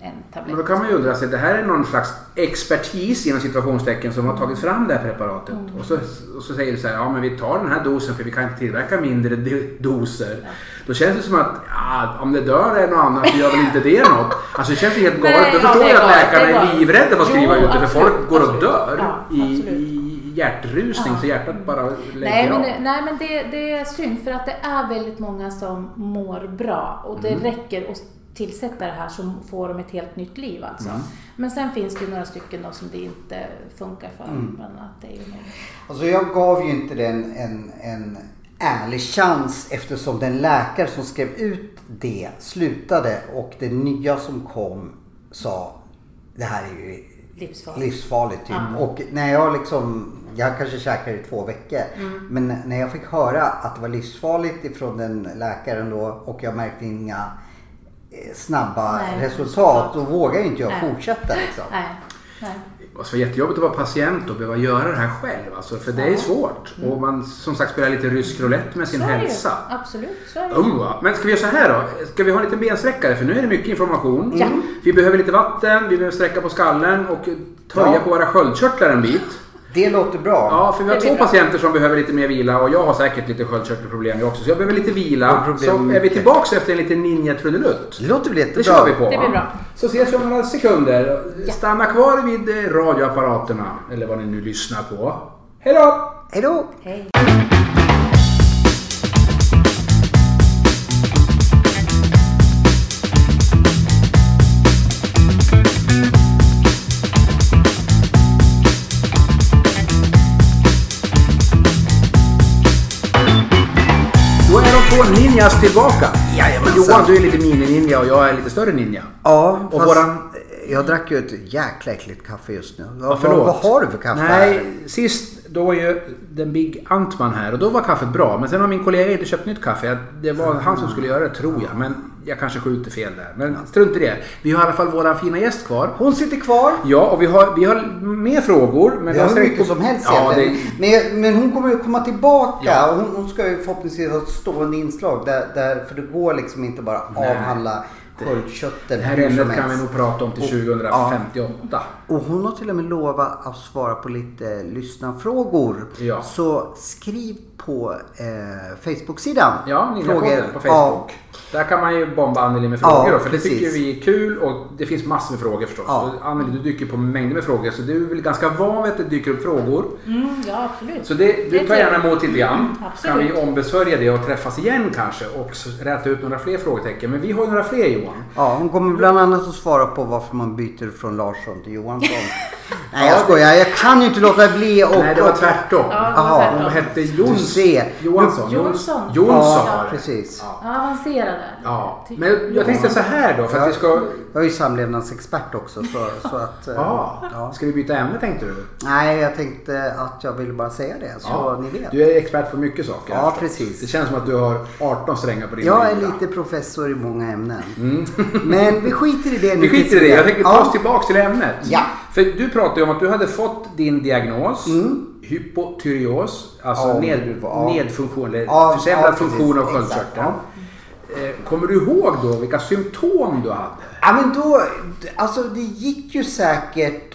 S1: Men
S3: tablett.
S1: då kan man ju undra sig, det här är någon slags expertis inom situationstecken som har tagit fram det här preparatet.
S3: Mm.
S1: Och, så, och så säger du så här, ja men vi tar den här dosen för vi kan inte tillverka mindre de- doser. Då känns det som att, ja, om det dör en och annan så gör väl inte det något. Alltså det känns ju helt
S3: Nej,
S1: galet. Då
S3: ja,
S1: förstår
S3: det är
S1: jag att
S3: galet, det
S1: läkarna
S3: är
S1: är
S3: galet.
S1: livrädda för att
S3: Jo,
S1: skriva ut det för
S3: absolut,
S1: folk går och
S3: absolut.
S1: dör
S3: Ja,
S1: i,
S3: absolut.
S1: i, hjärtrusning
S3: Ja.
S1: så hjärtat bara lägger
S3: Nej men,
S1: av.
S3: det, nej men det, det är synd för att det är väldigt många som mår bra och det
S1: Mm.
S3: räcker att tillsätta det här så får de ett helt nytt liv alltså.
S1: Mm.
S3: Men sen finns det ju några stycken då som det inte funkar för.
S1: Mm.
S3: Bland annat det är ju någon-
S2: Alltså jag gav ju inte den en, en ärlig chans eftersom den läkare som skrev ut det slutade och det nya som kom sa det här är ju
S3: livsfarlig.
S2: livsfarligt typ.
S3: Ja.
S2: Och när jag liksom, jag kanske käkade i två veckor.
S3: Mm.
S2: Men när jag fick höra att det var livsfarligt ifrån den läkaren då och jag märkte inga eh, snabba
S3: Nej,
S2: resultat. Då vågade ju inte jag
S3: Nej.
S2: fortsätta liksom.
S3: Nej, nej.
S1: Alltså, det var jättejobbigt att vara patient och behöva göra det här själv. Alltså, för det är
S3: Ja.
S1: svårt. Och man som sagt spelar lite rysk roulette med sin
S3: Så är det ju.
S1: hälsa.
S3: Absolut, så är det ju.
S1: Oh, va. men ska vi göra så här då? Ska vi ha en liten bensträckare? För nu är det mycket information.
S3: Ja.
S1: Vi behöver lite vatten, vi behöver sträcka på skallen och töja
S2: Ja.
S1: på våra sköldkörtlar en bit.
S2: Det låter bra.
S1: Ja, för vi har
S3: Det blir
S1: två
S3: bra.
S1: patienter som behöver lite mer vila och jag har säkert lite sköldkörtelproblem jag också. Så jag behöver lite
S2: Jag har
S1: vila. Så
S2: problem med
S1: är vi
S2: mycket.
S1: tillbaka efter en liten ninja-trudelutt.
S2: Det låter väl jättebra.
S1: Det kör vi på.
S3: Det
S1: va?
S3: blir bra.
S1: Så ses vi om några sekunder. Stanna kvar vid eh, radioapparaterna, eller vad ni nu lyssnar på. Hej då!
S2: Hej då!
S3: Hej.
S1: Då är de två ninjas tillbaka.
S2: Jajamensan.
S1: Johan, du är lite mini-ninja och jag är lite större ninja.
S2: Ja,
S1: Och
S2: fast
S1: våran-
S2: jag drack ju ett jäkla äckligt kaffe just nu. Vad,
S1: Ja, förlåt.
S2: vad, vad har du för kaffe?
S1: Nej, sist då var ju den Big Antman här och då var kaffet bra. Men sen har min kollega inte köpt nytt kaffe. Jag- Det var
S2: Mm.
S1: han som skulle göra det tror jag. Men jag kanske skjuter fel där. Men strunt i det. Vi har i alla fall våran fina gäst kvar.
S2: Hon sitter kvar.
S1: Ja, och vi har, vi har mer frågor. Men
S2: Vi har hur
S1: sträckt
S2: mycket
S1: på-
S2: som helst
S1: ja, det,
S2: egentligen. men, men hon kommer ju komma tillbaka.
S1: Ja.
S2: Och Hon, hon ska ju förhoppningsvis ha ett stående inslag. Där, där, för det går liksom inte bara att
S1: Nej.
S2: avhandla sköldkörteln
S1: det här
S2: hur som
S1: ämnet kan vi
S2: helst.
S1: nog prata om till 2058.
S2: Och hon har till och med lovat att svara på lite lyssnarfrågor.
S1: Ja.
S2: Så skriv på eh, Facebook-sidan.
S1: Ja, Ninjapodden på
S2: Ja,
S1: Facebook. Där kan man ju bomba Anneli med frågor
S2: Ja,
S1: då, för det tycker
S2: precis.
S1: vi är kul och det finns massor med frågor förstås.
S2: Ja.
S1: Och Anneli, du dyker på mängder med frågor så du är väl ganska van vid att det dyker upp frågor.
S3: Mm, ja, absolut.
S1: Så det,
S3: Det
S1: du
S3: är
S1: tar gärna
S3: trevligt.
S1: emot lite grann.
S3: Absolut.
S1: Kan vi ombesörja det och träffas igen kanske och så räta ut några fler frågetecken. Men vi har ju några fler Johan.
S2: Ja, hon kommer bland annat att svara på varför man byter från Larsson till Johansson. Nej,
S1: Ja,
S2: jag
S1: det-
S2: skojar. Jag kan ju inte låta bli och...
S1: Nej, det var tvärtom.
S3: Ja, det
S2: Aha,
S3: var
S1: Hon
S3: tvärtom.
S1: hette Jons...
S2: Du ser.
S1: Johansson.
S3: Jonsson.
S1: Jonsson.
S2: Ja,
S1: var det.
S2: precis.
S1: Ja.
S3: Ja, avancerade.
S1: Ja. Men jag tänkte så här då för att vi ska...
S2: Jag är ju samlevnadsexpert också så, så att... eh,
S1: Ja. Ska vi byta ämne tänkte du?
S2: Nej, jag tänkte att jag ville bara säga det så
S1: Ja,
S2: ni vet.
S1: Ah. Du är expert på mycket saker.
S2: Ja,
S1: jag förstår.
S2: precis.
S1: Det känns som att du har 18 strängar på din
S2: Jag är
S1: lyra.
S2: lite professor i många ämnen. Men vi skiter i det nu.
S1: Mm. Vi skiter i det. Jag tänker ta oss
S2: Ja.
S1: tillbaka till ämnet.
S2: Ja.
S1: För du pratade ju om att du hade fått din diagnos. Hypotyreos. Alltså
S2: Mm. Ja,
S1: ned,
S2: ja.
S1: nedfunktion eller
S2: Ja,
S1: försämrad
S2: ja, precis.
S1: funktion av
S2: Exakt,
S1: sköldkörteln. Eh, Kommer du ihåg då vilka symptom du hade?
S2: Ja men då, alltså det gick ju säkert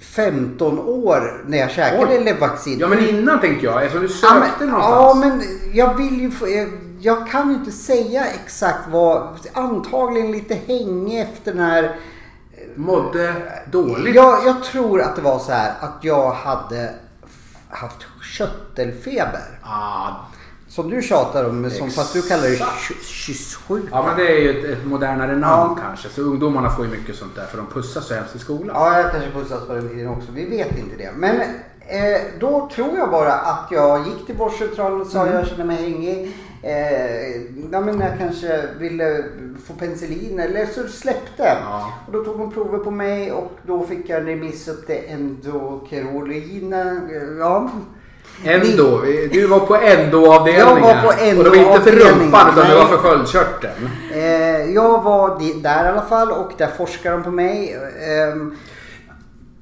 S2: 15 år när jag käkade
S1: Oj.
S2: Levaxin.
S1: Ja men innan tänkte jag eftersom du
S2: Ja,
S1: sökte
S2: men-
S1: någonstans.
S2: Ja men jag vill ju få, jag, jag kan ju inte säga exakt vad, antagligen lite hänge efter den här
S1: Mådde dåligt.
S2: jag, jag tror att det var så här att jag hade f- haft köttelfeber.
S1: Ah,
S2: Som du tjatar om, som, fast du kallar det
S1: Exakt.
S2: ky- kyssjuka.
S1: ja men det är ju ett, ett modernare namn
S2: Ja.
S1: kanske. Så ungdomarna får ju mycket sånt där för de pussas så hemskt i skolan.
S2: Ja, jag kanske pussas på den tiden också. Vi vet inte det. Men eh, då tror jag bara att jag gick till vårdcentralen och sa
S3: Mm.
S2: jag känner mig hängig. Eh, ja, men jag kanske ville få penicillin eller så släppte.
S1: Ja.
S2: Och då tog hon prover på mig och då fick jag en remiss upp till endokrolina. eh, Ja.
S1: Ändå, du var på ändå-avdelningen.
S2: Jag var på
S1: Och det var inte för
S2: ändå-avdelningen,
S1: rumpan utan det
S2: nej.
S1: var för sköldkörteln.
S2: Eh, jag var di- där i alla fall och där forskade de på mig. Ehm,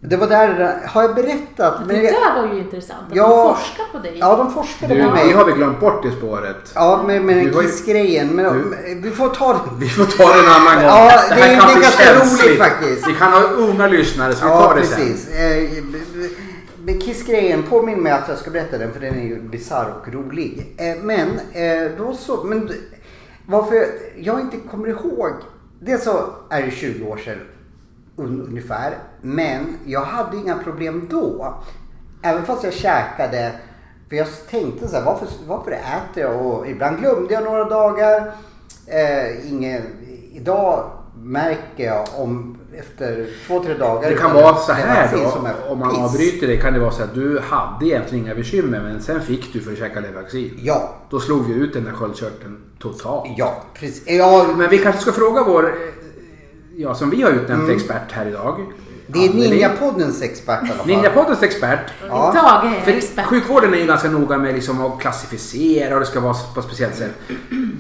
S2: det var där, har jag berättat?
S3: Det
S2: Men jag-
S3: där var ju intressant. Att
S2: Ja.
S3: de forskar på dig.
S2: Ja, de forskade
S1: Du,
S2: på mig.
S1: det har vi glömt bort i spåret.
S2: Ja, med, med
S1: Du
S2: den
S1: har ju-
S2: kissgrejen. Men
S1: du-
S2: vi får ta den.
S1: Vi får ta det en annan gång.
S2: Ja, det
S1: här
S2: är-
S1: kan
S2: det är
S1: bli
S2: ganska
S1: känsligt.
S2: roligt faktiskt.
S1: Vi kan ha unga lyssnare så vi
S2: Ja,
S1: tar det sen.
S2: precis. Eh, b- b- b- Kissgrejen, påminn mig att jag ska berätta den för den är ju bisarr och rolig. Eh, Men eh, då så, men d- varför jag inte kommer ihåg. Dels så är det 20 år sedan un- ungefär. Men jag hade inga problem då. även fast jag käkade, för jag tänkte så här, varför, varför äter jag? Och ibland glömde jag några dagar. Eh, ingen, idag märker jag om efter två, tre dagar.
S1: Det kan
S2: ibland
S1: vara så här
S2: bensin
S1: då,
S2: som är
S1: om man
S2: piss.
S1: avbryter det kan det vara så att du hade egentligen inga bekymmer men sen fick du för att käka Levaxin.
S2: Ja,
S1: Då slog vi ut den där sköldkörteln totalt.
S2: ja, precis. Ja,
S1: Men vi kanske ska fråga vår, eh, ja som vi har utnämnt expert här idag.
S2: Mm. det är
S1: Anneli.
S2: Ninjapoddens expert i alla fall.
S1: Ninjapoddens expert.
S2: Ja.
S3: Dag är
S1: För
S3: jag expert.
S1: sjukvården är ju ganska noga med liksom att klassificera och det ska vara på ett speciellt sätt.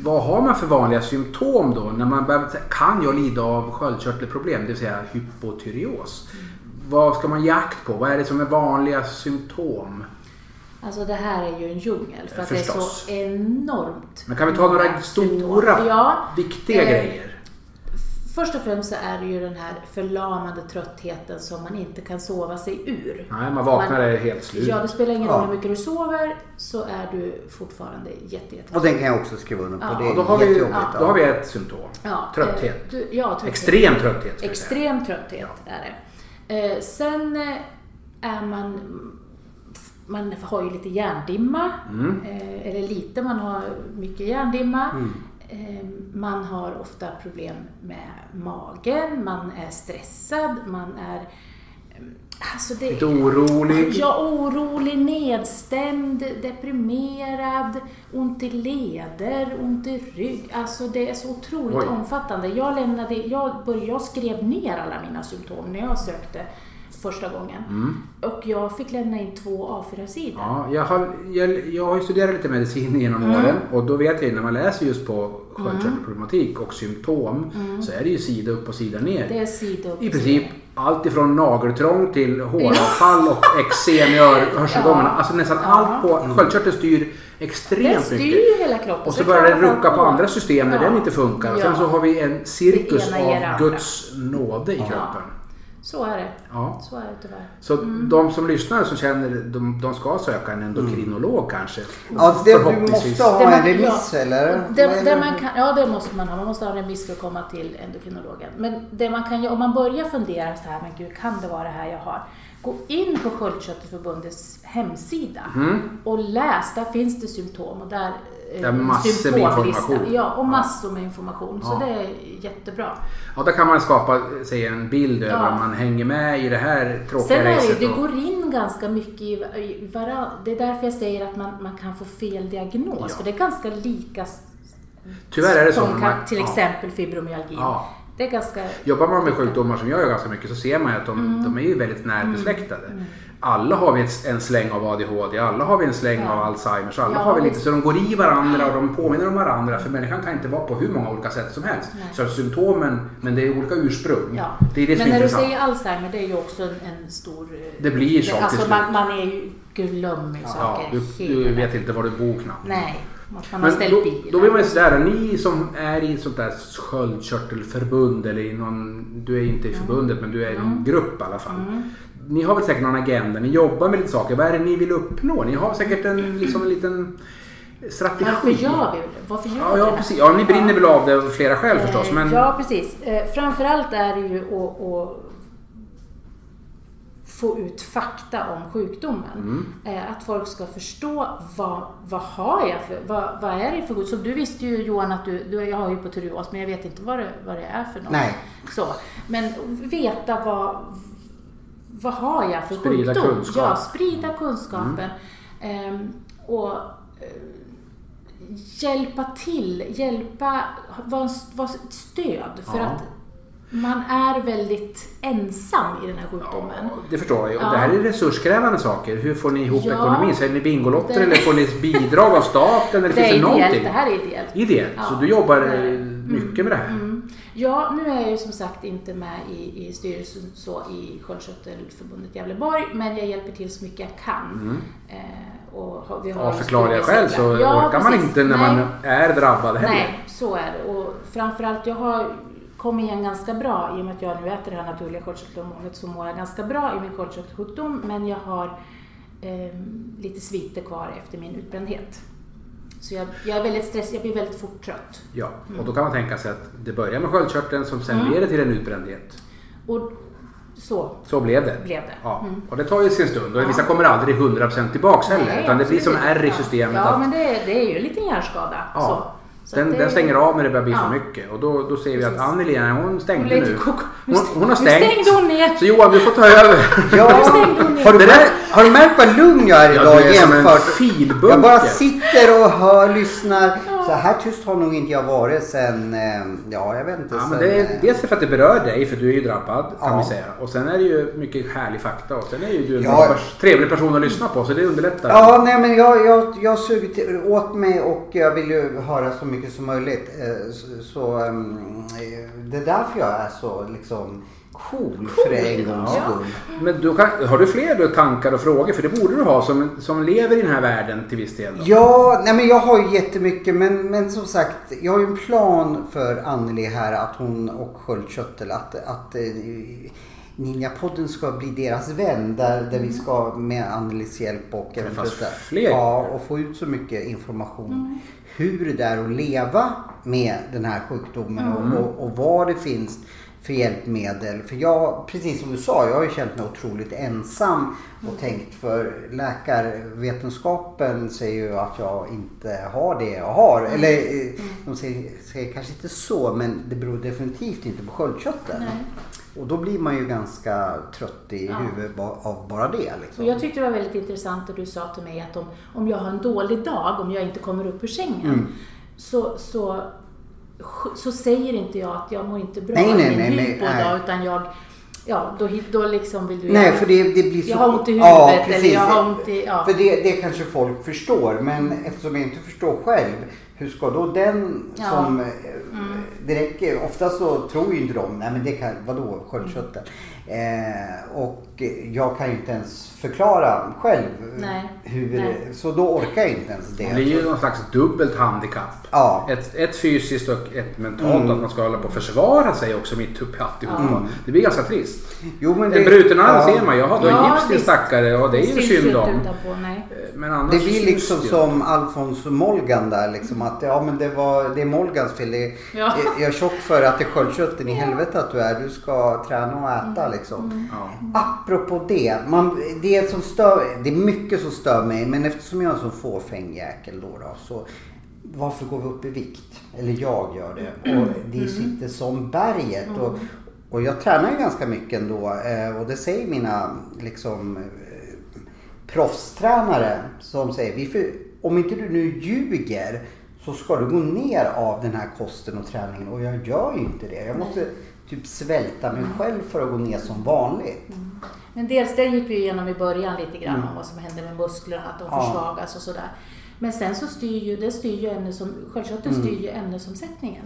S1: Vad har man för vanliga symptom då? När man börjar, kan jag lida av sköldkörtelproblem, det vill säga hypotyreos? Vad ska man ge akt på? Vad är det som är vanliga symptom?
S3: Alltså det här är ju en djungel för att det är
S1: Förstås.
S3: så enormt.
S1: Men kan vi ta några
S3: många
S1: stora,
S3: symptom. Ja,
S1: viktiga
S3: eh,
S1: grejer?
S3: Först och främst så är det ju den här förlamande tröttheten som man inte kan sova sig ur.
S1: Nej, man vaknar
S3: man-
S1: är helt slut.
S3: Ja, det spelar ingen
S2: Ja.
S3: roll hur mycket du sover så är du fortfarande jätte, jätte
S2: Och den kan jag också skriva under på.
S3: Ja,
S2: det är
S1: då, har vi,
S2: jättejobbigt.
S3: ja,
S1: då har vi ett symptom.
S3: Ja,
S1: Trötthet.
S3: eh, Du, ja, trötthet.
S1: Extrem trötthet. ska jag säga.
S3: Extrem trötthet är det. Eh, sen eh, är man... Man har ju lite hjärndimma. Eh, eller lite, man har mycket hjärndimma. Eh, man har ofta problem med magen, man är stressad, man är... eh, Alltså det,
S1: Lite orolig.
S3: Ja, orolig, nedstämd, deprimerad, ont i leder, ont i rygg. Alltså det är så otroligt
S1: Oj.
S3: omfattande. Jag, lämnade, jag, började, jag skrev ner alla mina symptom när jag sökte första gången. Och jag fick lämna in två A4-sidor.
S1: Mm. Ja, jag, har, jag, jag har ju studerat lite medicin genom
S3: Mm.
S1: åren och då vet jag ju när man läser just på sköldkörtelproblematik och symptom så är det ju sida upp och sida ner.
S3: Mm. Det är sidor upp
S1: I
S3: och
S1: princip
S3: sidor.
S1: allt ifrån nageltrång till håravfall och eksem i ör- hörselgångarna. Alltså nästan
S3: Ja.
S1: allt på sköldkörteln styr extremt
S3: Den styr
S1: mycket.
S3: ju hela kroppen.
S1: Och
S3: det
S1: så
S3: är
S1: börjar den
S3: klart att
S1: rucka på
S3: man-
S1: andra system när
S3: Ja.
S1: den inte funkar. Och sen
S3: Ja.
S1: så har vi en cirkus
S3: Det ena ger det
S1: av
S3: andra.
S1: Guds nåde i kroppen.
S3: Så är det.
S1: Ja.
S3: Så är det tyvärr.
S1: Så
S3: Mm.
S1: de som lyssnar som känner, de, de ska söka en endokrinolog
S3: Mm.
S1: kanske.
S2: Ja, det, du
S1: Förhoppningsvis.
S2: måste ha
S3: Där
S2: en
S3: man-
S2: remiss
S3: ja.
S2: eller?
S3: Där, där man kan, ja, det måste man ha. Man måste ha en remiss för att komma till endokrinologen. Men det man kan, göra- om man börjar fundera så här, men gud, kan det vara det här jag har? Gå in på Sköldkörtelförbundets hemsida
S1: Mm.
S3: och läs. Där finns det symptom och där eh,
S1: Där är massor med
S3: symptomlista.
S1: information.
S3: Ja, och massor med information. Så
S1: Ja.
S3: det är jättebra.
S1: Ja, där kan man skapa sig en bild över
S3: Ja.
S1: om man hänger med i det här tråkiga
S3: Sen är det,
S1: racet.
S3: ju- det
S1: och-
S3: går in ganska mycket i va- i varandra. Det är därför jag säger att man, man kan få fel diagnos.
S1: Ja.
S3: För det är ganska lika
S1: Tyvärr är det så.
S3: som
S1: men
S3: kan,
S1: man-
S3: till
S1: ja.
S3: exempel fibromyalgi.
S1: Ja.
S3: Det är ganska...
S1: Jobbar man med sjukdomar som jag gör ganska mycket så ser man ju att de,
S3: Mm.
S1: de är ju väldigt närbesläktade. Alla har vi ett- en släng av ADHD, alla har vi en släng
S3: Ja.
S1: av Alzheimers, alla
S3: Ja,
S1: har vi lite
S3: visst.
S1: så de går i varandra och de påminner om varandra för människan kan inte vara på hur många olika sätt som helst.
S3: Nej.
S1: Så att symptomen, men det är olika ursprung.
S3: Ja.
S1: Det är det som
S3: Men
S1: är
S3: när du
S1: intressant.
S3: säger Alzheimer, det är ju också en, en stor... eh,
S1: Det blir så till
S3: Alltså
S1: slut.
S3: man, man är ju, glömmer ju
S1: Ja,
S3: saker
S1: du,
S3: hela
S1: du
S3: tiden.
S1: vet inte var du bor knappt.
S3: Nej, man man har
S1: Men
S3: ställt
S1: då,
S3: bilen.
S1: då blir man ju sådär, ni som är i ett sånt där sköldkörtelförbund eller i någon, du är inte i
S3: Mm.
S1: förbundet men du är i någon grupp i alla fall. Ni har väl säkert någon agenda, ni jobbar med lite saker. Vad är det ni vill uppnå? Ni har säkert en, liksom en liten strategi.
S3: Varför gör vi det? Varför gör
S1: Ja,
S3: vi
S1: ja,
S3: det?
S1: precis. ja, ni brinner väl av det av flera skäl förstås.
S3: Eh,
S1: Men
S3: Ja, precis. Eh, Framförallt är det ju att, att få ut fakta om sjukdomen.
S1: Mm.
S3: Eh, Att folk ska förstå vad, vad har jag för, vad, vad är det för sjukdom? Som du visste ju Johan att du, du jag har hypotyreos men jag vet inte vad det, vad det är för något.
S2: Nej.
S3: Så. Men veta vad, vad har jag för
S1: Sprida
S3: sjukdom?
S1: kunskap. Mm.
S3: Ja, sprida kunskapen. Ehm, och hjälpa till, hjälpa, vara var ett stöd. För
S1: Ja.
S3: att man är väldigt ensam i den här
S1: Ja,
S3: sjukdomen.
S1: det förstår jag ju. Och
S3: Ja.
S1: Det här är resurskrävande saker. Hur får ni ihop
S3: Ja.
S1: ekonomin? Säljer ni Bingolotter
S3: Det-
S1: eller får ni bidrag av staten? Eller
S3: det
S1: finns
S3: är
S1: det
S3: ideellt,
S1: någonting?
S3: det här är ideellt.
S1: Ideellt. Så
S3: Ja.
S1: du jobbar
S3: Nej.
S1: eh, mycket med det här?
S3: Mm. Ja, nu är jag ju som sagt inte med i, i styrelsen så i Sköldkörtelförbundet Gävleborg, men jag hjälper till så mycket jag kan. Eh, och har- vi har
S1: Mm. Av
S3: en
S1: förklarliga skäl så
S3: studiecirklar. Ja,
S1: orkar man
S3: precis.
S1: inte när
S3: Nej.
S1: man är drabbad heller.
S3: Nej, så är det. Och framförallt, jag har kommit igen ganska bra i och med att jag nu äter det här naturliga sköldkörtelhormonet så mår jag ganska bra i min sköldkörtelsjukdom men jag har ehm, lite sviter kvar efter min utbrändhet. Så jag, jag är väldigt stressad, jag blir väldigt fort trött.
S1: Ja,
S3: Mm.
S1: och då kan man tänka sig att det börjar med sköldkörteln som sen leder till en utbrändhet.
S3: Och Så
S1: Så blev det.
S3: blev det.
S1: Ja.
S3: Mm.
S1: Och det tar ju sin stund och vissa kommer aldrig 100% tillbaks heller.
S3: Nej,
S1: utan det blir som
S3: absolut
S1: ärr i
S3: inte.
S1: systemet.
S3: Ja,
S1: att
S3: men det, är- det är ju en liten hjärnskada.
S1: Ja.
S3: Så. Så
S1: Den,
S3: att det,
S1: den stänger av när det börjar bli
S3: Ja.
S1: för mycket. Och då, då ser vi att
S3: Precis.
S1: Anneli, nej, hon
S3: Hon,
S1: stängde
S3: blev
S1: nu.
S3: lite koko.
S1: Hon, hon har
S3: Nu
S1: stängt.
S3: stängde hon ner.
S1: Så Johan, du får ta över.
S2: Ja,
S3: stängde hon ner.
S2: har, du
S1: Det där-
S2: märkt, har du märkt vad lugn jag är
S1: Ja,
S2: idag
S1: du är som en
S2: jämfört?
S1: filbunke.
S2: Jag bara sitter och hör, lyssnar. Så här tyst har nog inte jag varit sen, eh, ja jag vet inte.
S1: Ja,
S2: sen,
S1: men det är,
S2: eh,
S1: dels för att det berör dig, för du är ju drabbad kan
S2: Ja.
S1: vi säga. Och sen är det ju mycket härlig fakta och sen är ju du en
S2: Ja.
S1: bra pers- trevlig person att lyssna på så det underlättar.
S2: Ja, nej men jag, jag, jag har sugit åt mig och jag vill ju höra så mycket som möjligt. Eh, Så, så ehm, eh, det är därför jag är så liksom cool, för en gångs
S1: ja.
S2: skull.
S1: Men du kan, har du fler då, tankar och frågor? För det borde du ha som, som lever i den här världen till viss del. Då.
S2: Ja, nej men jag har ju jättemycket men, men som sagt, jag har ju en plan för Anneli här att hon och Sköldköttel att, att eh, Ninjapodden ska bli deras vän där, där vi ska med Annelies hjälp och eventuellt där-
S1: fler.
S2: Ja, och få ut så mycket information.
S3: Mm.
S2: Hur det är att leva med den här sjukdomen
S3: Mm.
S2: och, och, och vad det finns för hjälpmedel. För jag, precis som du sa, jag har ju känt mig otroligt ensam
S3: Mm.
S2: och tänkt för läkarvetenskapen säger ju att jag inte har det jag har.
S3: Mm.
S2: Eller eh, de säger, säger kanske inte så men det beror definitivt inte på sköldkörteln.
S3: Nej.
S2: Och då blir man ju ganska trött i
S3: Ja.
S2: huvudet ba- av bara det.
S3: Och
S2: Liksom.
S3: jag tyckte det var väldigt intressant att du sa till mig att om, om jag har en dålig dag, om jag inte kommer upp ur sängen,
S2: Mm.
S3: så, så, så säger inte jag att jag mår inte bra
S2: Nej,
S3: i
S2: nej,
S3: min
S2: nej, nej,
S3: hypo
S2: nej.
S3: idag, utan jag, ja, då, hit- då liksom vill du
S2: Nej, för det, det blir så...
S3: Jag har ont i huvudet eller jag har ont i- ja.
S2: För det, det kanske folk förstår, men eftersom jag inte förstår själv, hur ska då den
S3: Ja. Mm.
S2: som... eh, Det räcker, ofta så tror ju inte de, nej men det kan, vadå, sköldkörteln. Eh, och jag kan ju inte ens förklara själv
S3: Nej,
S2: hur...
S3: nej.
S2: Så då orkar jag inte ens det.
S1: Det blir ju någon slags dubbelt handikapp.
S2: Ja. Mm.
S1: Ett, ett fysiskt och ett mentalt. Att man ska hålla på och försvara sig också mitt uppe i alltihopa. Det blir ganska trist.
S2: Jo, Mm. men
S1: En bruten arm
S2: ja.
S1: ser man. Jaha, du har
S3: Ja,
S1: gips din
S3: visst.
S1: stackare. Och det är ju
S3: syns ju
S1: synd
S3: inte
S1: om. Eh,
S3: utanpå, nej.
S1: Men annars
S2: Det
S1: syns
S2: blir liksom
S1: ju.
S2: som Alfons Molgan där liksom att ja men det, var, det är Molgans fel. Det,
S3: Ja.
S2: Jag är tjock för att det är sköldkörteln i helvete att du är. Du ska träna och äta liksom.
S1: Ja.
S2: Apropå det. Man, det, som stör, det är mycket som stör mig men eftersom jag är en sån fåfäng jäkel då, då så varför går vi upp i vikt? Eller jag gör det. Och det sitter som berget. Och, och jag tränar ju ganska mycket ändå eh, och det säger mina liksom eh, proffstränare som säger vi för, om inte du nu ljuger så ska du gå ner av den här kosten och träningen och jag gör ju inte det. Jag måste typ svälta mig
S3: Mm.
S2: själv för att gå ner som vanligt.
S3: Men dels det gick vi igenom i början lite grann
S1: Mm.
S3: om vad som händer med musklerna, att de
S2: Ja.
S3: försvagas och sådär. Men sen så styr ju, det styr ju ämnes som, sköldkörteln
S1: Mm.
S3: styr ju ämnesomsättningen.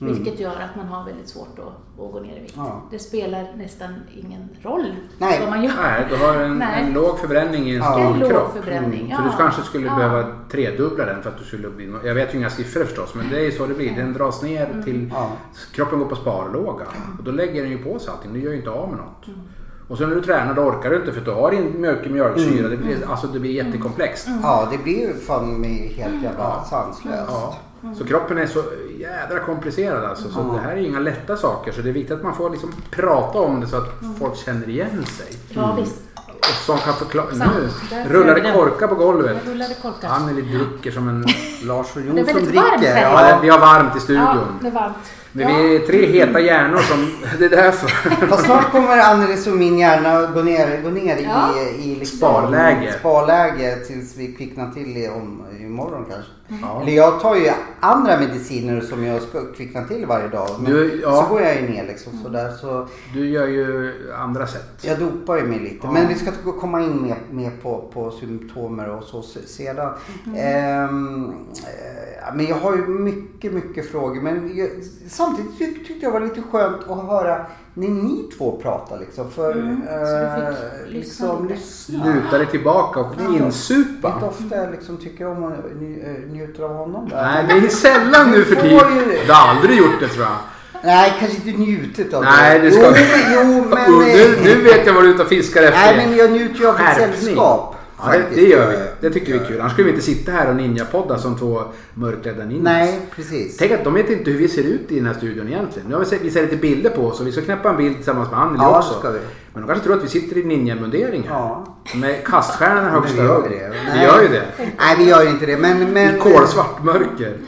S3: Vilket gör att man har väldigt svårt att, att gå ner i vikt.
S2: Ja.
S3: Det spelar nästan ingen roll
S2: Nej.
S3: vad man gör.
S1: Nej, du har en,
S3: Nej.
S1: en låg förbränning i en
S2: Ja.
S1: stor
S3: en låg
S1: kropp. Mm.
S3: förbränning.
S1: Så du kanske skulle
S3: Ja.
S1: behöva tredubbla den för att du skulle bli... Jag vet ju inga siffror förstås, men det är ju så det blir. Den dras ner
S3: Mm.
S1: till...
S2: Ja.
S1: Kroppen går på sparlåga. Och då lägger den ju på sig allting. Du gör ju inte av med något.
S3: Mm.
S1: Och sen när du tränar då orkar du inte för att du har din mjölk mjölksyra. Det
S3: Mm.
S1: blir, alltså det blir jättekomplext.
S2: Ja, det blir ju fan mig helt jävla sanslöst.
S1: Ja.
S3: Mm.
S1: Så kroppen är så jädra komplicerad alltså. Så det här är ju inga lätta saker. Så det är viktigt att man får liksom prata om det så att
S3: Mm.
S1: folk känner igen sig.
S3: Ja, visst.
S1: Och som kan förklara...
S3: Sant.
S1: Nu
S3: Där
S1: rullar
S3: flög
S1: det
S3: den.
S1: korkar på golvet.
S3: Jag rullade korkar.
S1: Anneli dricker som en...
S2: Lars och
S3: Det
S2: Jon
S3: är
S2: som
S3: väldigt varmt
S2: dricker.
S3: här
S1: Ja, det-
S2: Ja,
S1: vi har varmt i studion.
S3: Ja, det är varmt.
S1: Men Vi är tre heta hjärnor som... Det är därför.
S2: Fast snart kommer Annelies och min hjärna gå ner, gå ner
S3: Ja.
S2: i, i liksom
S1: Sparläge.
S2: sparläge tills vi kvicknar till i, om, imorgon kanske.
S1: Ja.
S2: Eller jag tar ju andra mediciner som jag ska kvickna till varje dag. Men
S1: Du- ja.
S2: Så går jag ju ner liksom sådär. Så
S1: Du gör ju andra sätt.
S2: jag dopar ju mig lite.
S1: Ja.
S2: Men vi ska gå- komma in mer, mer på, på symptomer och så se- sedan.
S1: Mhm.
S2: Ehm, eh, men jag har ju mycket, mycket frågor. Men jag, samtidigt tyck, tyckte jag var lite skönt att höra när ni två pratar liksom. För
S3: Mm, så du
S2: eh,
S3: fick lyssna
S2: liksom
S3: lite.
S2: lyssna.
S1: Luta dig tillbaka och
S2: Inte
S1: insupa.
S2: ofta jag liksom tycker om och nj, eh, njuter av honom. Där.
S1: Nej, det är sällan nu för
S2: Du får
S1: tiden.
S2: ju-
S1: Du har aldrig gjort det tror jag.
S2: Nej, kanske inte njutit av
S1: Nej, det ska
S2: Jo, men... Jo, men
S1: Oh, nu, nu vet jag vad du är ute och fiskar efter.
S2: Nej, men jag njuter ju av ett
S1: Skärpning.
S2: sällskap.
S1: Ja, det, det gör vi. Det tycker vi är kul. Annars skulle vi inte sitta här och ninjapodda som två mörkrädda ninjas.
S2: Nej, precis.
S1: Tänk att de vet inte hur vi ser ut i den här studion egentligen. Nu har vi sett, vi ser lite bilder på oss och vi ska knäppa en bild tillsammans med Anneli
S2: Ja,
S1: också.
S2: det ska vi.
S1: Men de kanske tror att vi sitter i ninjamundering här.
S2: Ja.
S1: Med kaststjärnorna
S2: Men
S1: högst
S2: vi gör
S1: upp.
S2: det.
S1: Vi gör ju det.
S2: Nej, vi gör ju inte det. Men, men,
S1: I kolsvart mörker.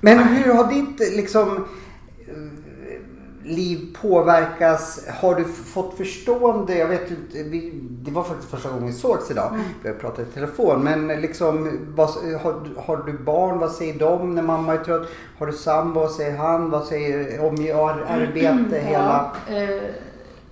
S2: Men hur har ditt liksom, eh, liv påverkats? Har du f- fått förstående? Jag vet inte, vi, det var faktiskt första gången vi sågs idag.
S3: Mm.
S2: Vi har pratat i telefon. Men liksom, vad, har, du- har du barn? Vad säger de när mamma är trött? Har du sambo? Vad säger han? Vad säger om jag har arbete? Hela...
S3: Mm. Ja, eh,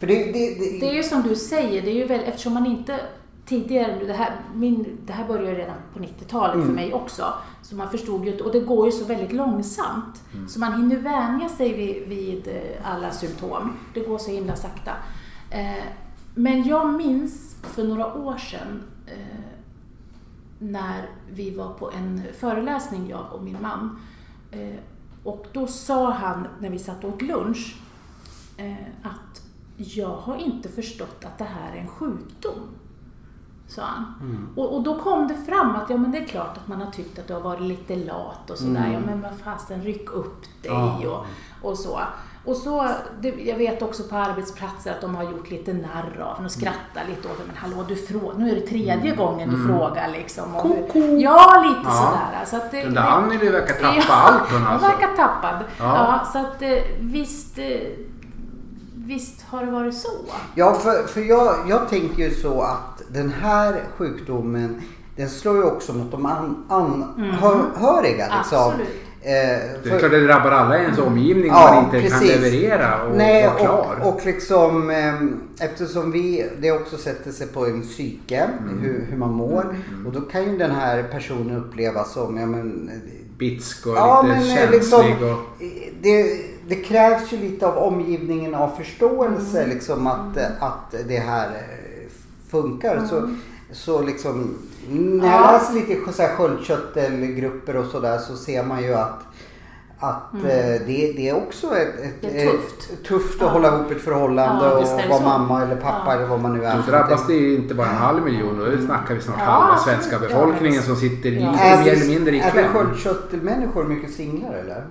S2: För det, det, det,
S3: Det är ju som du säger, det är ju väl, eftersom man inte tidigare, det här, min, det här började ju redan på 90-talet för mig också, så man förstod ju inte, och det går ju så väldigt långsamt, så man hinner vänja sig vid, vid eh, alla symptom. Det går så himla sakta. Eh, Men jag minns för några år sedan eh, när vi var på en föreläsning, jag och min man. Eh, Och då sa han, när vi satt och åt lunch, eh, att jag har inte förstått att det här är en sjukdom. Sa han.
S1: Mm.
S3: Och, och då kom det fram att ja, men det är klart att man har tyckt att du har varit lite lat och
S1: Mm.
S3: sådär. Ja, men vad fasen, ryck upp dig och, och så. Och så, det, jag vet också på arbetsplatser att de har gjort lite narr av en
S1: Mm.
S3: och skrattat lite åt det. Men hallå, du frå, nu är det tredje gången du frågar liksom. om hur-
S1: Mm. Koko.
S3: Ja, lite
S1: Ja.
S3: sådär. Så att det,
S1: Den där
S3: det-
S1: Anneli verkar tappa allt hon alltså.
S3: verkar tappad.
S1: Ja.
S3: Ja. så att eh, visst, eh, visst har det varit så.
S2: Ja, för, för jag, jag tänker ju så att den här sjukdomen den slår ju också mot de anhöriga. liksom.
S3: Absolut.
S2: Eh,
S1: Det
S2: för-
S1: är klart det drabbar alla i ens omgivning om
S2: Ja,
S1: man inte
S2: precis.
S1: kan leverera och
S2: Nej,
S1: vara klar.
S2: och, och liksom ehm, eftersom vi, det också sätter sig på en psyke,
S1: Mm.
S2: hur, hur man mår. Och då kan ju den här personen upplevas som, ja men eh,
S1: Bitsk och
S2: Ja,
S1: lite
S2: men eh,
S1: känslig
S2: liksom,
S1: och...
S2: det, det krävs ju lite av omgivningen av förståelse
S3: Mm.
S2: liksom att, att det här eh, funkar. Så, så liksom, när jag
S3: Mm. Ja.
S2: läser lite så här sköldkörtelgrupper och sådär så ser man ju att att eh, det, det är också ett, ett,
S3: Mm. Det är tufft.
S2: ett- tufft att
S3: Ja.
S2: hålla ihop ett förhållande
S3: Ja,
S2: och
S3: visst är det
S2: vara
S3: så.
S2: mamma eller pappa
S3: Ja.
S2: eller vad man nu är.
S1: Då drabbas det ju inte bara en halv miljon, då snackar vi snart
S3: Ja,
S1: halva
S3: absolut.
S1: svenska
S3: Ja, men
S1: befolkningen
S3: visst.
S1: som sitter
S3: Ja.
S1: lite
S2: Är
S1: mer eller mindre i
S2: är vi
S1: kläm.
S2: sköldkörtelmänniskor mycket singlar eller?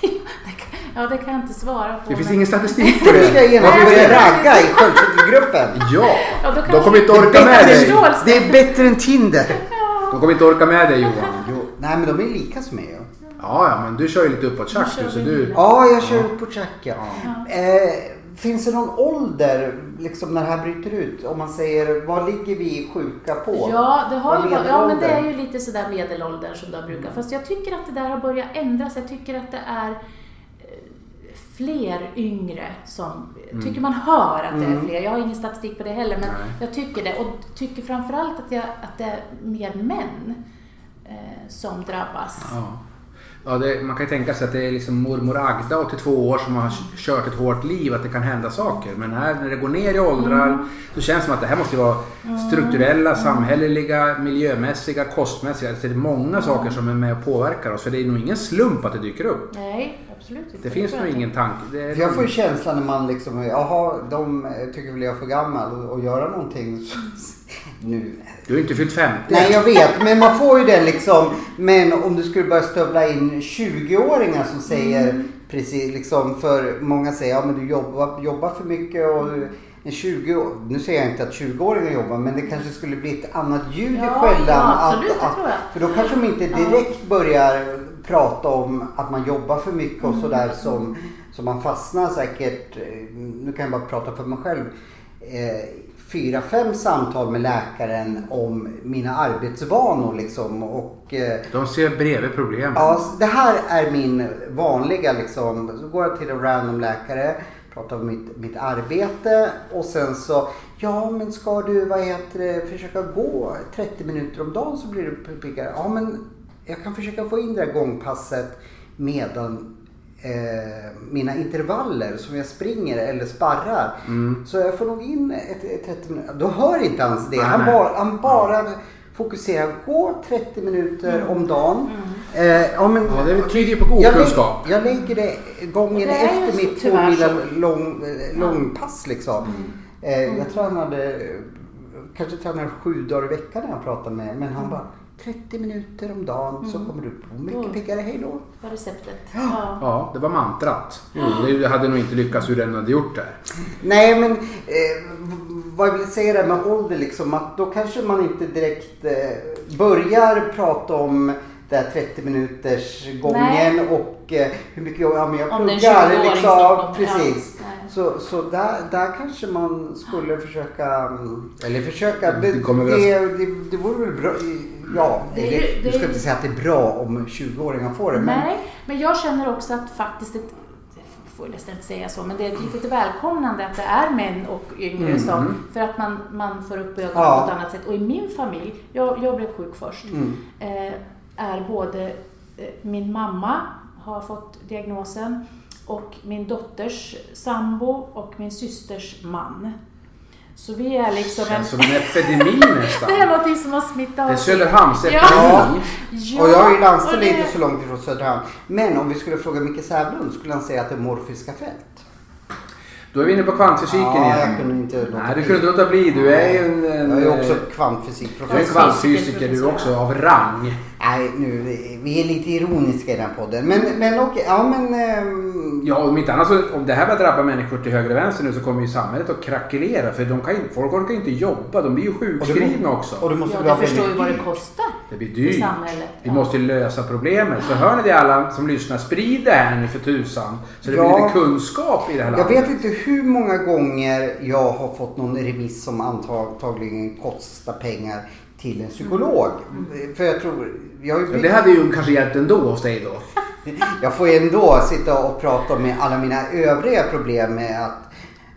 S3: Det kan- ja, det kan jag inte svara på.
S1: Det finns
S3: men-
S1: ingen statistik på
S2: Då ska
S1: det.
S2: jag genast
S1: Varför
S2: börja
S1: är det?
S2: ragga i sköldkörtelgruppen.
S1: Ja,
S3: Ja, då kan
S1: de
S3: man-
S1: kommer inte orka
S2: Det är
S1: med
S2: bättre-
S1: dig.
S3: Förstå- Förståelse.
S2: Det är bättre än Tinder.
S1: De kommer inte orka med dig Johan.
S2: Jo, nej men de är lika som mig ju.
S1: Ja, ja, men du kör ju lite uppåt tjack
S3: Nu
S1: du,
S3: kör
S1: så
S3: vi
S1: du...
S3: vidare.
S2: Ja, jag kör upp på check ja. Eh, finns det någon ålder liksom när det här bryter ut? Om man säger, vad ligger vi sjuka på?
S3: Ja, det har
S2: Vad
S3: ju
S2: leder
S3: varit, ja, men det
S2: ålder?
S3: är ju lite sådär medelåldern som de brukar. Fast jag tycker att det där har börjat ändras. Jag tycker att det är eh, fler yngre som, tycker man hör att det är fler. Jag har ingen statistik på det heller, men
S1: Mm. Nej.
S3: jag tycker det. Och tycker framförallt att, jag, att det är mer män eh, som drabbas.
S1: Ja. Ja, det, man kan ju tänka sig att det är liksom mormor Agda, 82 år, som har kört ett hårt liv, att det kan hända saker. Men här när det går ner i åldrar så känns det som att det här måste ju vara strukturella, samhälleliga, miljömässiga, kostmässiga. Alltså det är många saker som är med och påverkar oss. För det är nog ingen slump att det dyker upp.
S3: Nej, absolut inte.
S1: Det finns
S3: tror
S1: nog
S3: jag
S1: ingen tanke. Det är
S2: För jag får ju känslan när man liksom, jaha, de tycker väl jag är för gammal och, och göra någonting. nu
S1: Du har ju inte fyllt 50.
S2: Nej jag vet, men man får ju det liksom. Men om du skulle börja stövla in 20-åringar som säger precis liksom för många säger ja men du jobbar, jobbar för mycket och du- en 20 år- nu säger jag inte att 20-åringar jobbar men det kanske skulle bli ett annat ljud i
S3: Ja,
S2: skällan.
S3: ja,
S2: att-
S3: absolut, det
S2: att,
S3: tror jag.
S2: För då kanske de inte direkt börjar prata om att man jobbar för mycket och sådär
S3: Mm.
S2: som, som man fastnar säkert, eh, nu kan jag bara prata för mig själv, eh, fyra, fem samtal med läkaren om mina arbetsvanor liksom. Och, eh,
S1: De ser bredvid problemen.
S2: Ja, så det här är min vanliga liksom. Så går jag till en random läkare, pratar om mitt, mitt arbete och sen så, ja men ska du, vad heter det, försöka gå 30 minuter om dagen så blir du piggare. Ja men jag kan försöka få in det här gångpasset medan eh, mina intervaller som jag springer eller sparrar. Så jag får nog in ett, ett 30 minuter. Då hör inte hans det.
S1: Mm. Nej,
S2: Han,
S1: nej.
S2: bara, han bara
S3: Mm.
S2: fokuserar. Gå 30 minuter om dagen.
S3: Mm.
S2: Eh, ja, men,
S1: Ja, det tyder ju på okunskap.
S2: Jag, lägg- jag lägger det gången
S3: Och det är ju
S2: efter
S3: så
S2: mitt två
S3: tyvärr
S2: mila
S3: så.
S1: Mm.
S3: Mm.
S2: lång, eh, långpass liksom. Eh, jag tror han hade eh, kanske tränar sju dagar i veckan när jag pratar med Men han bara 30 minuter om dagen så kommer du på mycket
S3: Mm.
S2: piggare. Hej då.
S3: var receptet. Ja.
S1: Ja, det var mantrat. Mm, det hade nog inte lyckats hur den hade gjort det.
S2: Nej men eh, v- vad jag vill säga där med ålder liksom att då kanske man inte direkt eh, börjar prata om det här 30 minuters gången
S3: Nej.
S2: och eh, hur mycket jag, ja, men jag
S3: Om den
S2: pluggar.
S3: 20-åring
S2: liksom,
S3: som kommer,
S2: precis.
S3: ja. Nej.
S2: Så, så där, där kanske man skulle försöka, mm, eller försöka,
S1: Det kommer väl-
S2: det, det, det vore väl bra, ja,
S3: Det är ju-
S2: eller,
S3: det
S2: du
S3: är
S2: ska
S3: ju-
S2: inte säga att det är bra om 20-åringar får det. Men,
S3: Nej, men jag känner också att faktiskt ett det får jag nästan inte säga så, men det är ett litet välkomnande att det är män och yngre som, för att man, man får upp ögonen
S2: Mm. Ja. Mm.
S3: på ett annat sätt. Och i min familj, jag, jag blev sjuk först, eh, är både eh, min mamma har fått diagnosen och min dotters sambo och min systers man. Så vi är liksom en...
S1: Känns som en epidemi nästan.
S3: Det är någonting som har smittat av
S1: Det är
S3: sig.
S1: Söderhamnsepidemi.
S2: Ja.
S3: Ja,
S2: Och jag är ju
S3: och
S2: landstill
S3: det-
S2: inte så långt ifrån Söderhamn. Men om vi skulle fråga Micke Sävlund skulle han säga att det är morfiska fält.
S1: Då är vi inne på kvantfysiken
S2: Ja,
S1: igen.
S2: jag kunde inte låta
S1: Nej, du
S2: bli.
S1: kunde inte låta bli. Du är ju en... en
S2: Jag är ju också
S1: du är en
S2: kvantfysikprofessor.
S1: kvantfysiker du också, av rang.
S2: Nej, nu, vi är lite ironiska i den här podden. Men, men okej, ja men... ehm,
S1: Ja, om inte annat så, om det här börjar drabba människor till höger och vänster nu så kommer ju samhället att krackelera. För de kan, ju- folk orkar ju inte jobba. De blir ju
S2: och det må-
S1: sjukskrivna
S2: Och
S1: också.
S2: det måste
S3: Ja,
S2: bli
S3: du
S2: av
S3: förstår ju
S2: väldigt
S3: vad det
S2: dyrt.
S3: kostar.
S1: Det blir
S3: För
S1: dyrt.
S3: samhället.
S1: Vi
S3: ja.
S1: måste ju lösa problemet. Så hör ni det alla som lyssnar. Sprid det här nu för tusan. Så det blir
S2: Ja.
S1: lite kunskap i det här
S2: Jag
S1: landet.
S2: vet inte hur många gånger jag har fått någon remiss som antagligen kostar pengar till en psykolog.
S3: Mm.
S2: För jag tror... Jag, har ju
S1: Ja,
S2: blivit-
S1: det hade ju kanske hjälpt ändå hos dig då.
S2: Jag får ju ändå sitta och prata om alla mina övriga problem med att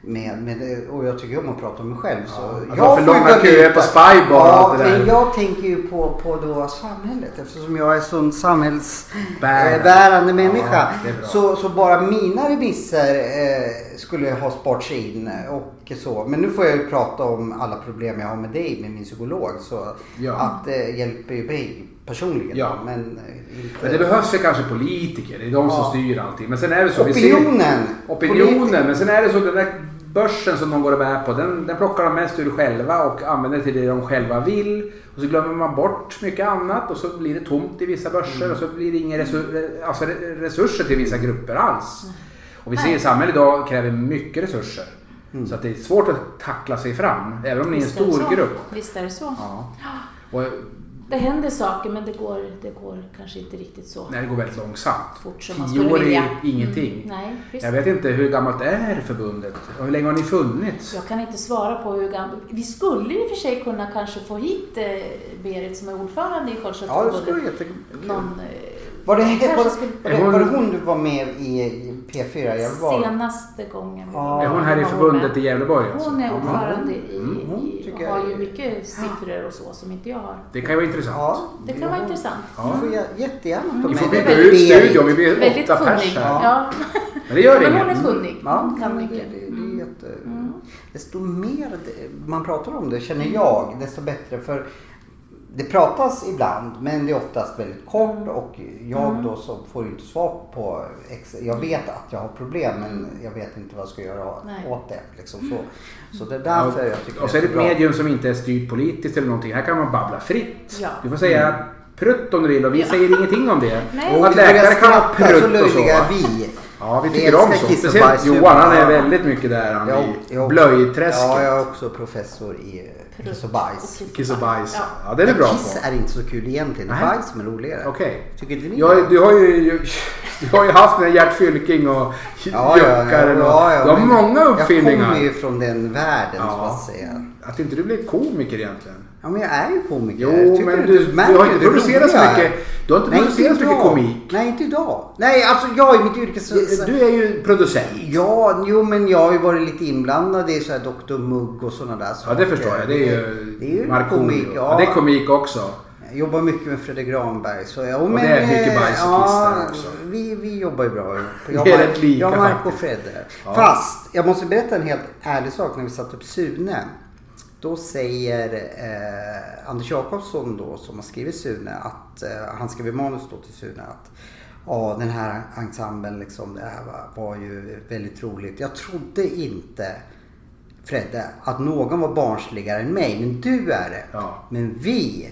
S2: med, med, och jag tycker om att prata om mig själv. Så
S1: att
S2: jag
S1: ha för
S2: får ju
S1: långa
S2: gå dit
S1: köer på
S2: och-
S1: Spybar och
S2: Ja,
S1: allt det där.
S2: men jag tänker ju på, på då samhället eftersom jag är sån
S1: Bärande.
S2: samhällsbärande människa.
S1: det är bra.
S2: så, så bara mina remisser eh, skulle ha sparats in och så. Men nu får jag ju prata om alla problem jag har med dig med min psykolog. Så
S1: Ja.
S2: att eh, hjälper ju mig personligen.
S1: Ja.
S2: Men, eh, inte...
S1: Men det behövs ju kanske politiker. Det är de som
S2: Ja.
S1: styr allting. Men sen är det så. vi ser-
S2: Opinionen! Politi-
S1: Opinionen, men sen är det så den där börsen som de går och bär på, den, den plockar de mest ur själva och använder till det de själva vill. Och så glömmer man bort mycket annat och så blir det tomt i vissa börser
S3: Mm.
S1: och så blir det inga resur, alltså re- resurser till vissa grupper alls.
S3: Mm.
S1: Och vi ser i samhället idag kräver mycket resurser.
S2: Mm.
S1: Så att det är svårt att tackla sig fram, även om ni är en
S3: Mm. Visst det
S1: stor
S3: så.
S1: grupp.
S3: Visst är det så.
S1: Ja. Och
S3: Det händer saker men det går, det går kanske inte riktigt så
S1: när det går väldigt långsamt.
S3: fort som man
S1: Tio
S3: skulle
S1: år
S3: vilja. Mm.
S1: är ingenting.
S3: Nej, visst.
S1: Jag
S3: Jag,
S1: vet inte, hur gammalt är förbundet? Och hur länge har ni funnits?
S3: kan inte svara på hur gammal... Vi skulle ju i och för sig kunna kanske få hit eh, Berit som är ordförande i
S2: Ja, det
S3: Sköldkörtelförbundet.
S2: skulle vara jättekul.
S3: Någon... eh,
S2: Var det,
S3: kanske
S2: var,
S3: skulle-
S2: var, det, var det hon du var med i i P4? Jag var,
S3: Senaste gången. vi
S2: Ja,
S3: var
S1: Är
S3: med.
S1: hon här i
S3: Var
S1: förbundet
S3: med?
S1: i Gävleborg alltså?
S3: Hon är ordförande i,
S1: Mm,
S2: hon
S3: i, och
S2: tycker jag
S3: har ju
S2: är-
S3: mycket siffror och så som inte jag har.
S1: Det kan ju vara intressant.
S2: ja,
S3: Det kan vara intressant.
S2: Du får jä- jättegärna ta med
S1: Vi får
S2: dig.
S1: bygga ut studion, vi blir
S3: Väldigt
S1: åtta
S3: kunnig.
S1: pers här.
S3: Ja.
S1: Men det gör Mm.
S3: Men hon är
S1: inget.
S3: kunnig.
S2: Mm. Ja,
S3: Hon kan
S2: det, Mm. det,
S3: mycket. Mm.
S2: det, är jätte, Desto mer det- man pratar om det, känner jag, desto bättre. För det pratas ibland, men det är oftast väldigt kort och jag då så får ju inte svar på... Ex- jag vet att jag har problem, men jag vet inte vad jag ska göra
S3: Nej.
S2: åt det. Liksom så. så det är därför jag tycker
S1: Och så är det ett
S2: bra.
S1: medium som inte är styrt politiskt eller någonting. Här kan man babbla fritt.
S3: Ja.
S1: Du får
S2: Mm.
S1: säga prutt om du vill och vi säger ingenting om det.
S3: Nej.
S1: Och att
S2: vi börjar
S1: läkare kan ha
S2: skratta, så
S1: prutt och så.
S2: löjliga
S1: va?
S2: är vi.
S1: Ja, vi
S2: Vi
S1: tycker om
S2: älskar
S1: så.
S2: kiss och
S1: Speciellt
S2: bajs.
S1: Johan, han är
S2: Ja.
S1: väldigt mycket där han
S2: Jag-
S1: i
S2: jag-
S1: blöjträsket.
S2: Ja, jag är också professor i eh, kiss och bajs.
S1: Kiss och bajs.
S3: Ja.
S1: Ja, det är du bra
S2: Kiss
S1: på.
S2: är inte så kul egentligen. Det är
S1: Nej.
S2: bajs som är roligare.
S1: Okej.
S2: Tycker inte ni?
S1: Jag, du, har ju, du har ju haft den här Gert Fylking och
S2: Ja, ja, ja,
S1: Jöckaren. och-
S2: ja, ja,
S1: du har
S2: men
S1: många
S2: Jag
S1: uppfinningar.
S2: kommer ju från den världen,
S1: Ja.
S2: så att säga.
S1: Att inte du blev komiker egentligen.
S2: Ja, men jag är ju komiker.
S1: Jo,
S2: Tycker
S1: men
S2: inte
S1: du, du
S2: märker
S1: har inte
S2: hur
S1: producerat
S2: rolig
S1: så
S2: jag är?
S1: mycket, du har inte
S2: Nej,
S1: producerat så mycket
S2: idag.
S1: komik.
S2: Nej, inte idag. Nej, alltså jag i mitt yrke så... så-
S1: Du är ju producent.
S2: Ja, jo men jag har ju varit lite inblandad i så här Dr Mugg och sådana där
S1: Ja, det
S2: saker.
S1: förstår jag. Det är ju,
S2: det är ju
S1: Markoolio.
S2: komik.
S1: Ja. det är komik också.
S2: Jag jobbar mycket med Fredrik Granberg. Så, ja, och
S1: det är mycket bajs och kiss där också.
S2: Vi, vi jobbar ju bra. Jag,
S1: Vi är
S2: Mark-
S1: rätt lika
S2: jag Mark och
S1: faktiskt.
S2: Fred. där.
S1: Ja.
S2: Fast jag måste berätta en helt ärlig sak när vi satte upp Sune. Då säger eh, Anders Jakobsson då som har skrivit Sune att eh, han skrev manus då till Sune att ja den här ensemblen liksom det här var, var ju väldigt roligt. Jag trodde inte Fredde, att någon var barnsligare än mig, men du är det.
S1: Ja.
S2: Men vi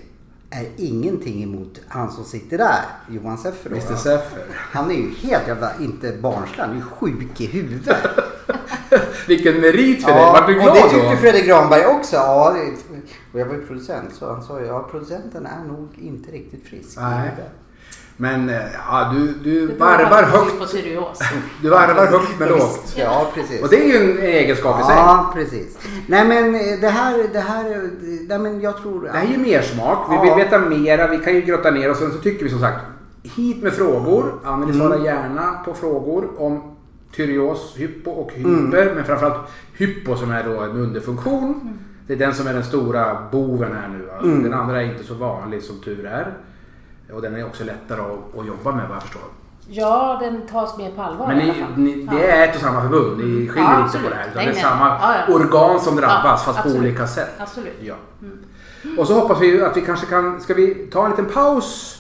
S2: är ingenting emot han som sitter där, Johan Seffer.
S1: Mr Seffer.
S2: Han är ju helt jävla, inte barnslig, han är ju sjuk i huvudet.
S1: Vilken merit för dig.
S2: Ja,
S1: Vart du
S2: och
S1: glad
S2: det tyckte
S1: då?
S2: Fredrik Granberg också. Ja, det- och jag var ju producent så han sa ju, ja producenten är nog inte riktigt frisk.
S1: Nej. Men eh, ja, du, du
S3: Det beror på
S1: varvar
S3: att du är
S1: högt.
S3: på Tyrios.
S1: Du varvar högt men lågt.
S2: Ja, precis.
S1: Och det är ju en egenskap i sig.
S2: Ja, precis. Nej men eh, det här, det här, det- nej men jag tror...
S1: Det här är ju mer smak. Vi
S2: Ja.
S1: vill veta mera. Vi kan ju grotta ner oss. Sen så tycker vi som sagt, hit med frågor. Anneli
S2: Mm.
S1: svarar gärna på frågor om tyreos, hypo och hyper.
S2: Mm.
S1: Men framförallt hypo som är då en underfunktion. Det är den som är den stora boven här nu. va?
S2: Mm.
S1: Den andra är inte så vanlig som tur är. Och den är också lättare att, att jobba med vad jag förstår.
S3: Ja, den tas mer på allvar
S1: Men
S3: i alla
S1: ni,
S3: fall. Mm.
S1: ni, det är ett och samma förbund. Ni skiljer
S3: Ja,
S1: inte på
S3: absolut.
S1: det här. Utan
S3: Nej,
S1: det är
S3: nej.
S1: samma
S3: Ja, ja.
S1: organ som drabbas
S3: Ja,
S1: fast på
S3: absolut.
S1: olika sätt.
S3: Absolut. Mm.
S1: Ja. Och så hoppas vi ju att vi kanske kan, ska vi ta en liten paus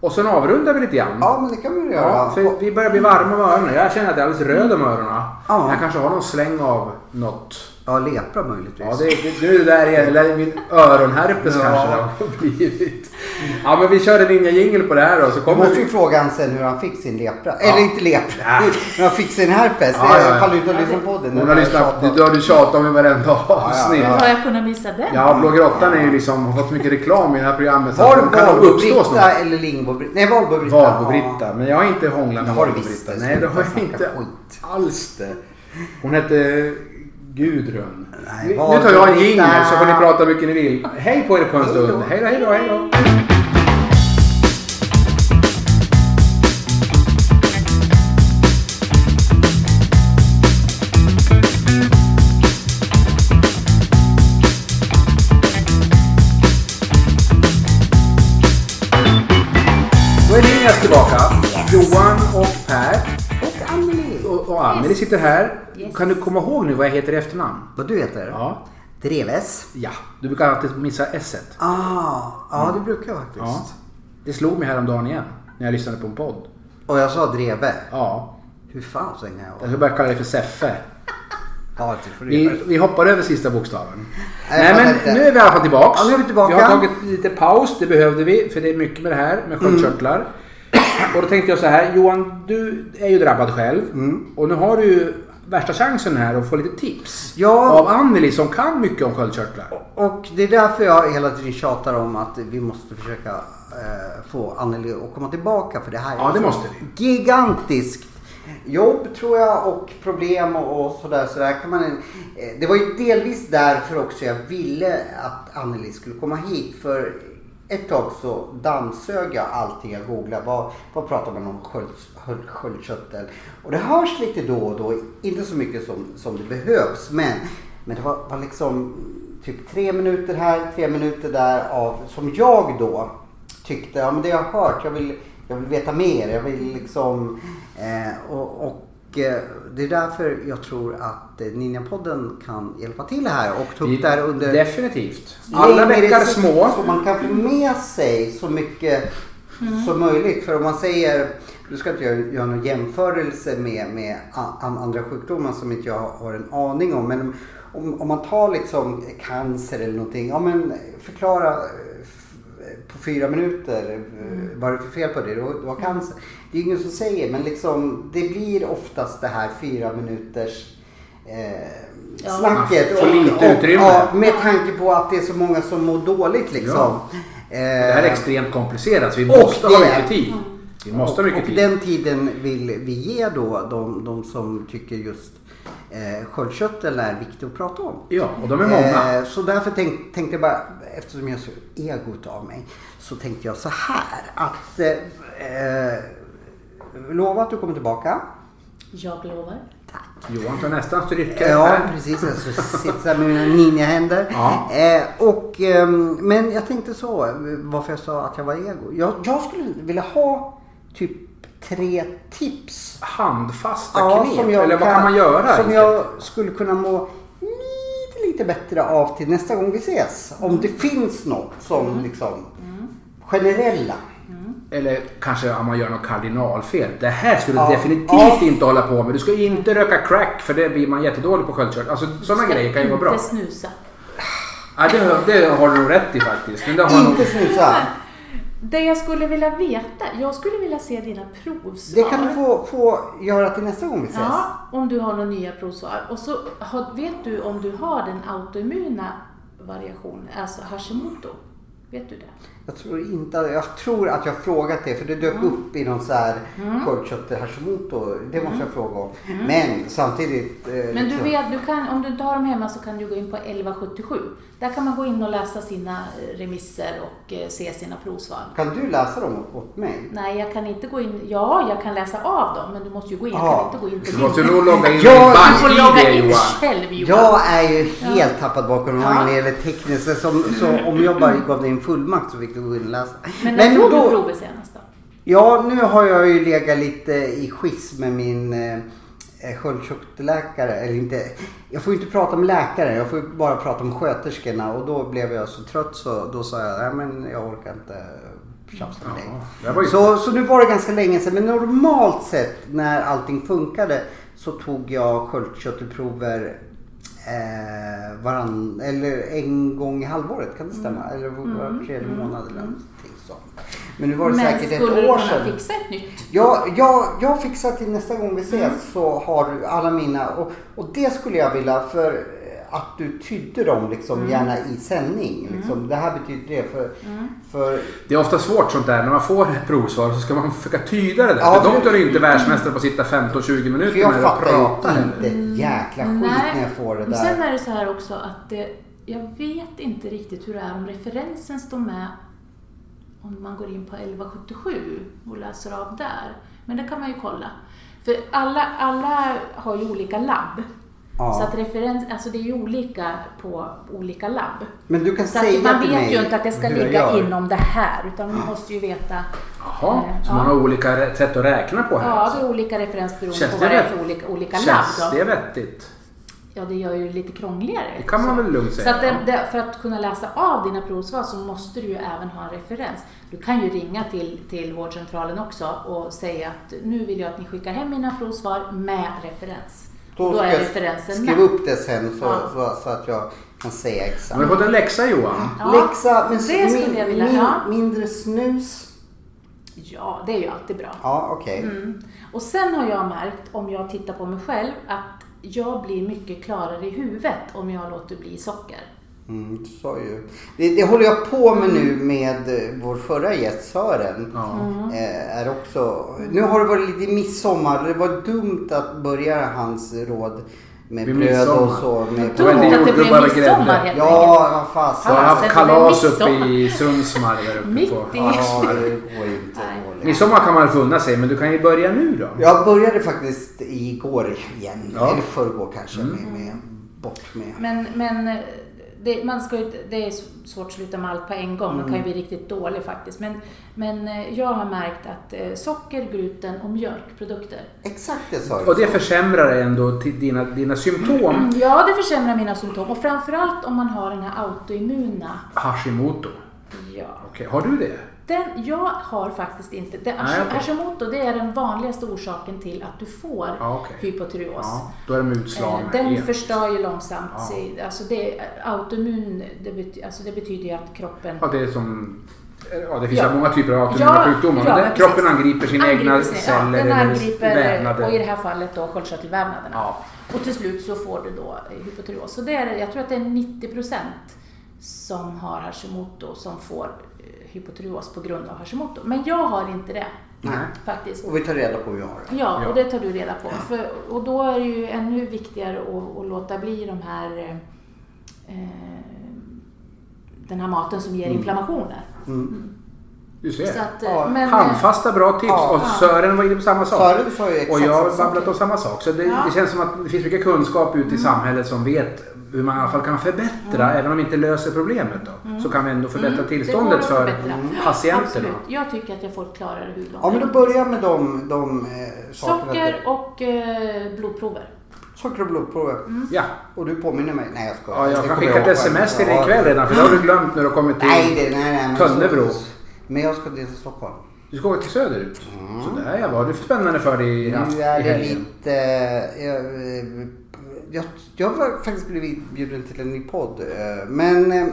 S1: och sen avrundar vi lite grann?
S2: Ja men det kan vi väl göra.
S1: Ja, för vi börjar bli varma om öronen. Jag känner att jag är alldeles röd om öronen.
S2: Ja.
S1: Jag kanske har någon släng av något.
S2: Ja, lepra möjligtvis.
S1: Ja, det, det, nu är det där igen. Eller min öronherpes
S2: Ja.
S1: kanske det har blivit. Ja, men vi kör en ninja jingle på det här då så
S2: Du
S1: kommer
S2: måste ju
S1: vi.
S2: fråga han sen hur han fick sin lepra. Eller inte lepra.
S1: Ja.
S2: Hur han fick sin herpes.
S1: Ja, ja, ja.
S2: Det faller ut och lyssnar på den.
S1: Hon har lyssnat, det har du tjatat om i varenda avsnitt.
S3: Hur har jag kunnat missa den?
S1: Ja, Blå Grottan är ju liksom, har fått så mycket reklam i det här programmet så att de Alltså, kan uppstå snart.
S2: Valbo-Britta eller Lingbo-Britta? Nej, Valbo-Britta.
S1: Valbo-Britta. Men jag har inte hånglat med
S2: Det har du visst,
S1: Valbo-Britta.
S2: det
S1: Nej, det
S2: ska
S1: har
S2: inte
S1: jag inte
S2: snacka skit.
S1: alls det. Hon hette Gudrun.
S2: Nej,
S1: Nu- nu
S2: Valbo-Britta.
S1: tar jag en jingel så får ni prata hur mycket ni vill. Hej på er på en stund. Hej då, hej då, hej då. Då är Linus tillbaka. Johan och Per
S2: Ja. Och Anneli.
S1: och, och Anneli sitter här.
S3: Yes.
S1: Kan du komma ihåg nu vad jag heter i efternamn?
S2: Vad du heter?
S1: Ja.
S2: Dreves.
S1: Ja, du brukar alltid missa s
S2: Ah, ja det brukar jag faktiskt.
S1: Mm. Ja. Det slog mig häromdagen igen när jag lyssnade på en podd.
S2: Och jag sa Dreve.
S1: Ja,
S2: Hur fan så länge jag
S1: jag
S2: var?
S1: ska börja kalla dig för Seffe.
S2: Ja, det får du göra.
S1: Vi, vi hoppar över sista bokstaven. Nej
S2: Nej, jag fattar
S1: men
S2: inte.
S1: nu är vi i alla fall tillbaks.
S2: Ja, nu är vi tillbaka.
S1: har tagit lite paus, det behövde vi för det är mycket med det här med
S2: Mm.
S1: sköldkörtlar. Och då tänkte jag så här, Johan du är ju drabbad själv
S2: Mm.
S1: och nu har du ju värsta chansen här att få lite tips
S2: Ja.
S1: av Anneli som kan mycket om sköldkörtlar.
S2: Och det är därför jag hela tiden tjatar om att vi måste försöka eh, få Anneli att komma tillbaka för det här
S1: Ja, det
S2: ett
S1: måste
S2: gigantiskt jobb tror jag och problem och, och sådär. Så där kan man, eh, det var ju delvis därför också jag ville att Anneli skulle komma hit. För ett tag så dammsög jag allting jag googlade. Vad, vad pratar man om sköld, sköld, sköldkörtel? Och det hörs lite då och då. Inte så mycket som, som det behövs. Men, men det var, var liksom typ tre minuter här, tre minuter där av, som jag då tyckte, ja men det har jag hört, jag vill, jag vill veta mer, jag vill liksom... Eh, och, och eh, det är därför jag tror att eh, Ninjapodden kan hjälpa till här och ta upp det här under...
S1: Definitivt. Alla
S2: längre
S1: bäckar
S2: sikt,
S1: små.
S2: Så man kan få med sig så mycket som möjligt. För om man säger, nu ska inte jag göra någon jämförelse med, med a- an- andra sjukdomar som inte jag har en aning om. Men om, om man tar liksom cancer eller någonting, ja men förklara eh, f- på fyra minuter eh, vad det är för fel på det, det var, det var cancer. Det är ingen som säger, men liksom, det blir oftast det här fyra minuters eh,
S3: Ja.
S2: snacket.
S1: För lite utrymme.
S2: ja, med tanke på att det är så många som mår dåligt liksom.
S1: Det här är extremt komplicerat så vi
S2: Eh, Och
S1: måste ha
S2: det-
S1: mycket tid. Vi måste ha mycket
S2: och
S1: tid.
S2: den tiden vill vi ge då de, de som tycker just eh, sköldkörteln är viktig att prata om.
S1: Ja, och de är många.
S2: Eh, så därför tänk, tänkte jag bara, eftersom jag är så egot av mig, så tänkte jag så här att eh, eh, lova att du kommer tillbaka.
S3: Jag lovar.
S1: Johan tar nästan stryka.
S2: Ja,
S1: här.
S2: precis. Jag sitter med mina ninjahänder.
S1: Ja.
S2: Eh, och, ehm, men jag tänkte så, eh, varför jag sa att jag var ego. Jag, jag skulle vilja ha typ tre tips.
S1: Handfasta
S2: Ja,
S1: knep.
S2: som jag
S1: Eller vad kan, man göra?
S2: Som
S1: egentligen?
S2: jag skulle kunna må lite, lite bättre av till nästa
S1: Mm.
S2: gång vi ses. Om det finns något som liksom generella.
S1: Eller kanske om man gör något kardinalfel. Det här skulle
S2: Ja.
S1: du definitivt
S2: Ja.
S1: inte hålla på med. Du ska inte röka crack för det blir man jättedålig på sköldkörteln. Alltså sådana
S3: Ska
S1: grejer kan ju vara bra.
S3: Inte snusa.
S1: Ja, det, har- det har du nog rätt i faktiskt. Men det har nog...
S2: Inte snusa.
S1: Mm.
S3: Det jag skulle vilja veta, jag skulle vilja se dina provsvar.
S2: Det kan du få, få göra till nästa gång vi ses.
S3: Ja, om du har några nya provsvar. Och så har, vet du om du har den autoimmuna variationen, alltså Hashimoto. Vet du det?
S2: Jag tror inte, jag tror att jag har frågat det för det
S3: Mm.
S2: dök upp i någon så här sköldkörtel Hashimoto. Det måste jag fråga om. Men samtidigt. eh,
S3: Mm. Men du
S2: liksom-
S3: vet, du kan, om du inte har dem hemma så kan du gå in på 1177. Där kan man gå in och läsa sina eh, remisser och eh, se sina provsvar.
S2: Kan du läsa dem åt mig?
S3: Nej, jag kan inte gå in. Ja, jag kan läsa av dem, men du måste ju gå in. Jag
S2: Ja.
S3: kan inte gå in på
S1: Du
S3: din.
S1: måste nog logga in i
S2: Ja,
S1: din
S2: du
S3: Du får logga
S1: bank-id
S3: in
S1: Johan.
S3: själv Johan.
S2: Jag är ju helt tappad bakom ja. när det gäller tekniskt. Så, som- så om jag bara gav dig en fullmakt så fick du gå in och läsa.
S3: Men när tog
S2: då-
S3: du provet senast då?
S2: Ja, nu har jag ju legat lite i skiss med min eh, eh, sköldkörtelläkare. Eller inte, jag får ju inte prata med läkare, jag får ju bara prata om sköterskorna. Och då blev jag så trött så då sa jag, nej men jag orkar inte tjafsa med dig.
S1: Ja, det var ju-
S2: Så, så nu var det ganska länge sedan. Men normalt sett när allting funkade så tog jag sköldkörtelprover eh, varann, eller en gång i halvåret. Kan det stämma?
S1: Mm.
S2: Eller var tredje månad eller någonting sånt. Men nu var det
S3: Men
S2: säkert
S3: skulle
S2: ett
S3: du
S2: år
S3: kunna
S2: sedan.
S3: fixa ett nytt?
S2: Jag, jag, jag fixar till nästa gång vi
S3: Mm.
S2: ses så har du alla mina. Och, och det skulle jag vilja för eh, att du tydde dem liksom
S3: Mm.
S2: gärna i sändning. Liksom. Det här betyder det för, för
S1: Det är ofta svårt sånt där. När man får ett provsvar så ska man försöka tyda det där.
S2: Ja,
S1: för de
S2: för-
S1: tar ju inte världsmästare på att sitta 15-20
S2: För
S1: minuter
S2: jag
S1: med och
S2: fattar
S1: prata
S2: ju
S1: heller.
S2: inte ett jäkla skit när jag får det
S3: Mm. Men Sen
S2: där.
S3: är det så här också att det, jag vet inte riktigt hur det är om referensen står med om man går in på 1177 och läser av där. Men det kan man ju kolla. För alla, alla har ju olika labb.
S2: Ja.
S3: Så att referens, alltså det är ju olika på olika labb.
S2: Men du kan
S3: Så
S2: säga
S3: att man
S2: till
S3: vet
S2: mig
S3: ju inte att det ska
S2: hur jag
S3: ligga
S2: gör.
S3: inom det här, utan man måste ju veta.
S1: Jaha,
S3: eh,
S1: så
S3: ja.
S1: man har olika rä- sätt att räkna på här.
S3: Ja,
S1: alltså.
S3: det är olika referens beroende
S1: Känns
S3: på
S1: det
S3: vad det är
S1: rätt?
S3: för olika, olika labb.
S1: Känns
S3: Då.
S1: det vettigt?
S3: Ja, det gör ju det lite krångligare.
S1: Det kan man
S3: Så.
S1: väl lugnt
S3: Så
S1: säga.
S3: att det, det, för att kunna läsa av dina provsvar så måste du ju även ha en referens. Du kan ju ringa till, till vårdcentralen också och säga att nu vill jag att ni skickar hem mina provsvar med referens. Då,
S2: Då ska
S3: är
S2: jag
S3: referensen
S2: skriva
S3: med.
S2: upp det sen så,
S3: Ja.
S2: så, så att jag kan säga
S1: Har du
S2: exakt.
S1: fått en läxa Johan?
S3: Ja,
S2: Läxa, men
S3: det skulle
S2: min,
S3: jag vilja
S2: min,
S3: ha.
S2: mindre snus.
S3: Ja, det är ju alltid bra.
S2: Ja, okej.
S3: Mm. Och sen har jag märkt, om jag tittar på mig själv, att jag blir mycket klarare i huvudet om jag låter bli socker.
S2: Mm, du sa ju. Det, det håller jag på med nu med eh, vår förra gäst Sören.
S1: Ja.
S3: Mm.
S2: Eh, Är också, nu har det varit lite midsommar. Det var dumt att börja hans råd med
S1: Vid
S2: bröd och
S1: midsommar.
S2: så. Med
S1: Dumt
S2: bröd.
S1: att
S3: det
S1: jordgubbar
S3: blev
S1: och
S3: midsommar
S1: grädde.
S3: helt
S2: Ja, vad
S1: Så jag
S2: fasen.
S1: har
S3: Ja,
S1: haft
S3: sen blir det
S1: kalas uppe i
S3: midsommar.
S1: Sundsmark där uppe
S3: Mitt
S1: på.
S3: i.
S2: Ja, det går inte.
S3: Nej.
S2: dåligt.
S1: Midsommar kan man väl få unna sig, men du kan ju börja nu då.
S2: Jag började faktiskt igår igen.
S1: Ja. Mm.
S2: Eller förrgår kanske. Med, med, bort med.
S3: Men, men eh, det, man ska, ju- det är s- svårt att sluta med allt på en gång. Man kan ju
S1: Mm.
S3: bli riktigt dålig faktiskt. Men, men eh, jag har märkt att eh, socker, gluten och mjölkprodukter.
S2: Exakt det sa jag.
S1: Och det försämrar ändå till dina, dina symptom.
S3: Ja, det försämrar mina symptom. Och framförallt om man har den här autoimmuna.
S1: Hashimoto.
S3: Ja.
S1: Okej, har du det?
S3: Den, jag har faktiskt inte. Det,
S1: Nej, okej.
S3: Hashimoto det är den vanligaste orsaken till att du får
S1: Ja, okej.
S3: hypotyreos.
S1: Ja, då är de utslagna.
S3: Eh, Den
S1: igen.
S3: förstör ju långsamt.
S1: Ja.
S3: sig. Alltså det, autoimmun, det, bety, alltså det betyder ju att kroppen
S1: Ja, det är som... eh, Ja, det finns
S3: Ja.
S1: ju många typer av autoimmuna sjukdomar. men där
S3: precis.
S1: kroppen angriper sina egna
S3: sina-
S1: celler
S3: ja, den
S1: eller
S3: angriper,
S1: vävnader.
S3: Och i det här fallet då sköldkörtelvävnaderna.
S1: Ja.
S3: Och till slut så får du då eh, hypotyreos. Så det är, jag tror att det är 90% som har Hashimoto som får eh, hypotyreos på grund av Hashimoto. Men jag har inte det
S2: Nej.
S3: faktiskt.
S2: Och vi tar reda på hur jag har det.
S3: Ja,
S1: Ja.
S3: och det tar du reda på. För, och då är det ju ännu viktigare att, att låta bli de här, eh, eh, den här maten som
S1: Mm.
S3: ger inflammationer.
S2: Mm.
S1: Du
S3: Så
S1: ser.
S3: att, eh,
S2: Ja,
S3: men,
S1: Handfasta bra tips.
S2: Ja.
S1: och Sören var inne på samma sak.
S2: Sören sa ju exakt
S1: och jag har
S2: samma sak.
S1: babblat om samma sak. Så det,
S3: Ja. Mm.
S1: det känns som att det finns mycket kunskap ute i samhället som vet hur man i alla fall kan förbättra, även om vi inte löser problemet då. Så kan vi ändå förbättra
S3: Mm, det
S1: tillståndet
S3: går att
S1: för Mm.
S3: förbättra.
S1: patienterna.
S3: Absolut. Jag tycker att jag får ett klarare huvud.
S2: mm, Ja men då börjar med de, de eh, sakerna.
S3: Socker och eh, blodprover.
S2: Socker och blodprover.
S1: Ja.
S2: Och du påminner mig. Nej jag skojar.
S1: ja, jag
S2: Det
S1: kan
S2: kommer
S1: skicka ett
S2: ihåg själv.
S1: sms till dig
S2: Ja.
S1: ikväll redan för det har du glömt när du kommer till
S2: Nej, det, nej, nej. men-
S1: Tönnebro.
S2: Men jag ska till Stockholm.
S1: Du ska åka till söderut. Så där ja, vad har du för spännande för dig i, haft
S2: Nu
S1: i
S2: är Mm. det
S1: helgen?
S2: lite... eh, Jag, eh, jag, jag har faktiskt blivit bjuden till en ny podd. eh, Men eh,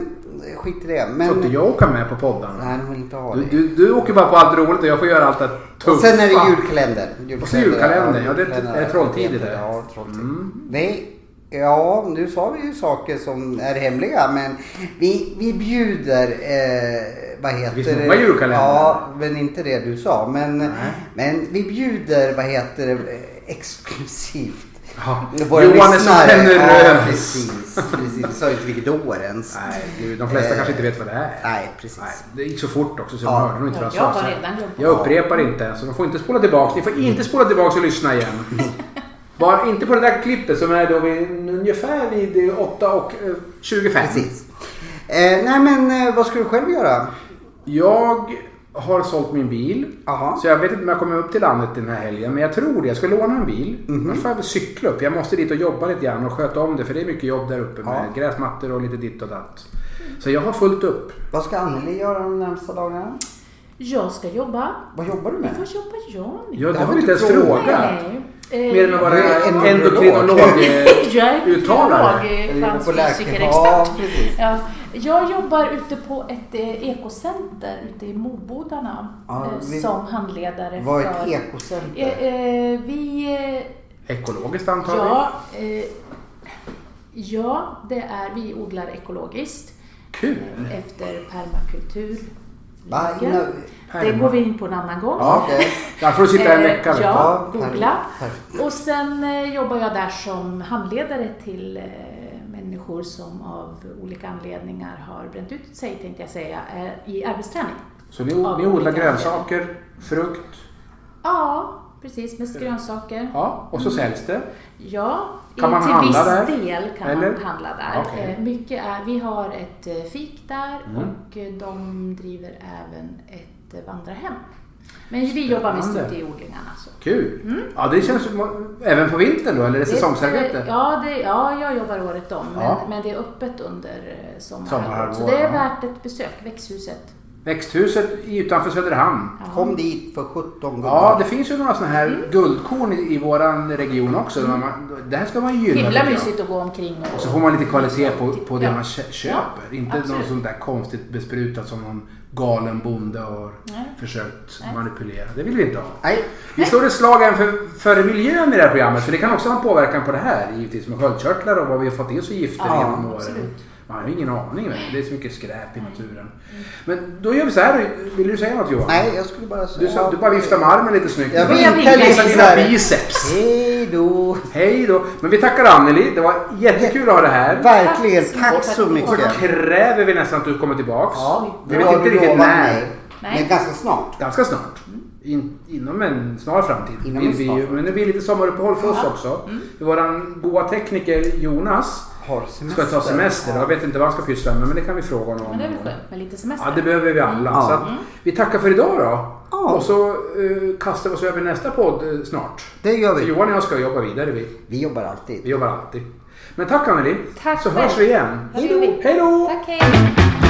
S2: skit i det.
S1: Får inte
S2: Men,
S1: jag åka med på poddarna?
S2: nej, de vill inte ha
S1: Du,
S2: det.
S1: du, du åker bara på allt roligt och jag får göra allt det tuffa.
S2: Och sen är det julkalender.
S1: julkalender, ja, det är-
S2: julkalender.
S1: är det trolltider där?
S2: Ja, trolltider.
S1: Mm.
S2: Nej, ja, nu sa vi ju saker som är hemliga, men vi, vi bjuder, eh, vad heter
S1: finns många julkalendrar.
S2: Ja, men inte det du sa. Men,
S1: Nej.
S2: men vi bjuder, vad heter det, eh, exklusivt.
S1: Ja,
S2: Våra
S1: Johan är så
S2: lyssnare. Ja,
S1: generös.
S2: precis, precis. Vi sa ju inte vilket år ens.
S1: Nej, gud, de flesta
S2: Eh,
S1: kanske inte vet vad det är.
S2: Nej, precis.
S1: Nej, det gick så fort också så de
S2: Ja.
S1: hörde nog inte vad
S3: Jag
S1: jag sa.
S3: har
S1: Så
S3: redan glömt
S1: Jag upprepar inte, så de får inte spola tillbaka. Ni får inte spola tillbaka och lyssna igen. Bara inte på det där klippet som är då vid, ungefär vid 8 och eh, 25.
S2: Precis. Eh, nej, men eh, vad skulle du själv göra?
S1: Jag har sålt min bil.
S2: Jaha.
S1: Så jag vet inte om jag kommer upp till landet den här helgen. Men jag tror det. Jag ska låna en bil.
S2: Mhm.
S1: Annars får jag väl cykla upp. Jag måste dit och jobba lite grann och sköta om det. För det är mycket jobb där uppe med
S2: Ja.
S1: gräsmattor och lite ditt och datt. Så jag har fullt upp.
S2: Vad ska Anneli göra de närmsta dagarna?
S3: Jag ska jobba.
S2: Vad jobbar du med?
S3: Vad jobbar jag med?
S1: Ja,
S2: Det
S1: det
S2: har
S1: har
S2: vi
S1: vi inte ens
S2: inte frågat.
S1: frågat.
S3: Eh,
S1: Mer än att vara
S2: Du är en eh,
S1: endokrinolog.
S3: Jag är
S1: Uttalare.
S2: Eller
S3: kriminolog,
S2: jobbar på läkare-
S3: transfysikerexpert.
S2: Ja, precis.
S3: Ja, jag jobbar ute på ett eh, ekocenter ute i Mobodarna
S2: Ja,
S3: eh,
S2: vi-
S3: som handledare
S2: Vad är ett
S3: för... Eh,
S2: ekocenter?
S3: eh, vi... eh,
S1: Ekologiskt antar jag.
S3: Ja, eh, ja, det är... Vi odlar ekologiskt
S1: Kul!
S3: efter permakultur.
S2: Va? Innan-
S3: Det går vi in på en annan gång.
S1: Ja,
S2: Okej.
S1: Där får du sitta en
S3: Eh,
S1: vecka. vet du.
S3: Ja,
S2: Ja,
S3: googla.
S2: perfekt.
S3: Och sen eh, jobbar jag där som handledare till eh, människor som av olika anledningar har bränt ut sig, tänkte jag säga, eh, i arbetsträning.
S1: Så ni, ni odlar grönsaker, frukt,
S3: Ja, precis, mest grönsaker.
S1: ja, och så säljs det.
S3: Ja,
S1: Kan
S3: eh,
S1: man
S3: till
S1: handla
S3: viss
S1: där?
S3: del kan
S1: Eller? Ah,
S3: man handla där.
S1: Okej.
S3: Eh, Mycket är, vi har ett eh, fik där
S1: Mm.
S3: och eh, de driver även ett eh, vandrarhem. Men vi jobbar mest
S1: Spännande.
S3: ute i odlingarna. Så.
S1: Kul! Ja, det känns som, även på vintern då, eller är det säsongsarbete?
S3: Ja, det, ja, jag jobbar året om, men,
S1: Ja.
S3: men det är öppet under eh, sommarhalvåret.
S1: Sommarhalvåret,
S3: Så det är
S1: ja.
S3: värt ett besök, växthuset.
S1: Växthuset utanför Söderhamn.
S3: Ja.
S2: Kom dit för 17 gånger.
S1: Ja, det finns ju några sådana här
S3: Mm.
S1: guldkorn i, i våran region också. Man, det här ska man gynna.
S3: Himla
S1: tycker jag.
S3: mysigt att gå omkring och...
S1: Och så får man lite kvalitet på, på det
S3: Ja.
S1: man kö- köper.
S3: Ja,
S1: Inte
S3: absolut.
S1: något sånt där konstigt besprutat som någon galen bonde har
S3: Nej.
S1: försökt
S3: Nej.
S1: manipulera. Det vill vi inte ha.
S2: Nej,
S1: Vi slår ett slag även för, för miljön i det här programmet. För det kan också ha en påverkan på det här. Givetvis med sköldkörtlar och vad vi har fått i oss för gifter
S2: Ja,
S1: genom åren.
S3: absolut.
S1: Man har ju ingen aning. Men det är så mycket skräp i naturen. Men då gör vi så här. Vill du säga något Johan?
S2: nej, jag skulle bara
S1: Du,
S2: säga...
S1: sa, du bara viftar med armen lite snyggt.
S2: Jag
S1: Du bara,
S3: vinkar
S2: vinkar
S1: Visa
S2: lite
S1: dina
S2: sådär.
S1: biceps.
S2: Hej då!
S1: Hej då. Men vi tackar Anneli. Det var jättekul att ha det här.
S2: Verkligen,
S3: Tack så
S2: tack så
S3: mycket.
S1: Och
S2: mycket.
S1: kräver vi nästan att du kommer tillbaks.
S2: Ja,
S1: vi
S2: det
S1: vet
S2: har
S1: inte
S2: du
S1: riktigt
S2: lovat
S1: när.
S2: mig.
S3: Nej.
S2: Men ganska snart.
S1: Ganska snart. In, inom en snar framtid.
S2: Inom
S1: vill
S2: en
S1: vi,
S2: snar
S1: ju. men det blir lite sommaruppehåll för oss också. För våran goa tekniker Jonas
S2: Har semester.
S1: ska ta semester. Jag vet inte vad han ska pyssla med men det kan vi fråga honom
S3: Men det är väl
S1: om.
S3: skönt med lite semester?
S1: Ja, det behöver vi alla.
S2: Ja.
S1: Så att, vi tackar för idag då.
S2: Ja.
S1: Och så eh, kastar vi oss över nästa podd eh, snart.
S2: Det gör
S1: Så
S2: vi.
S1: Johan och jag ska jobba vidare. Vi,
S2: Vi jobbar
S1: vi
S2: alltid.
S1: jobbar alltid. Men tack Anneli.
S3: Tack
S1: Så
S3: själv.
S1: hörs vi igen.
S3: Hej då.
S1: Hej då!
S3: Tack, hej!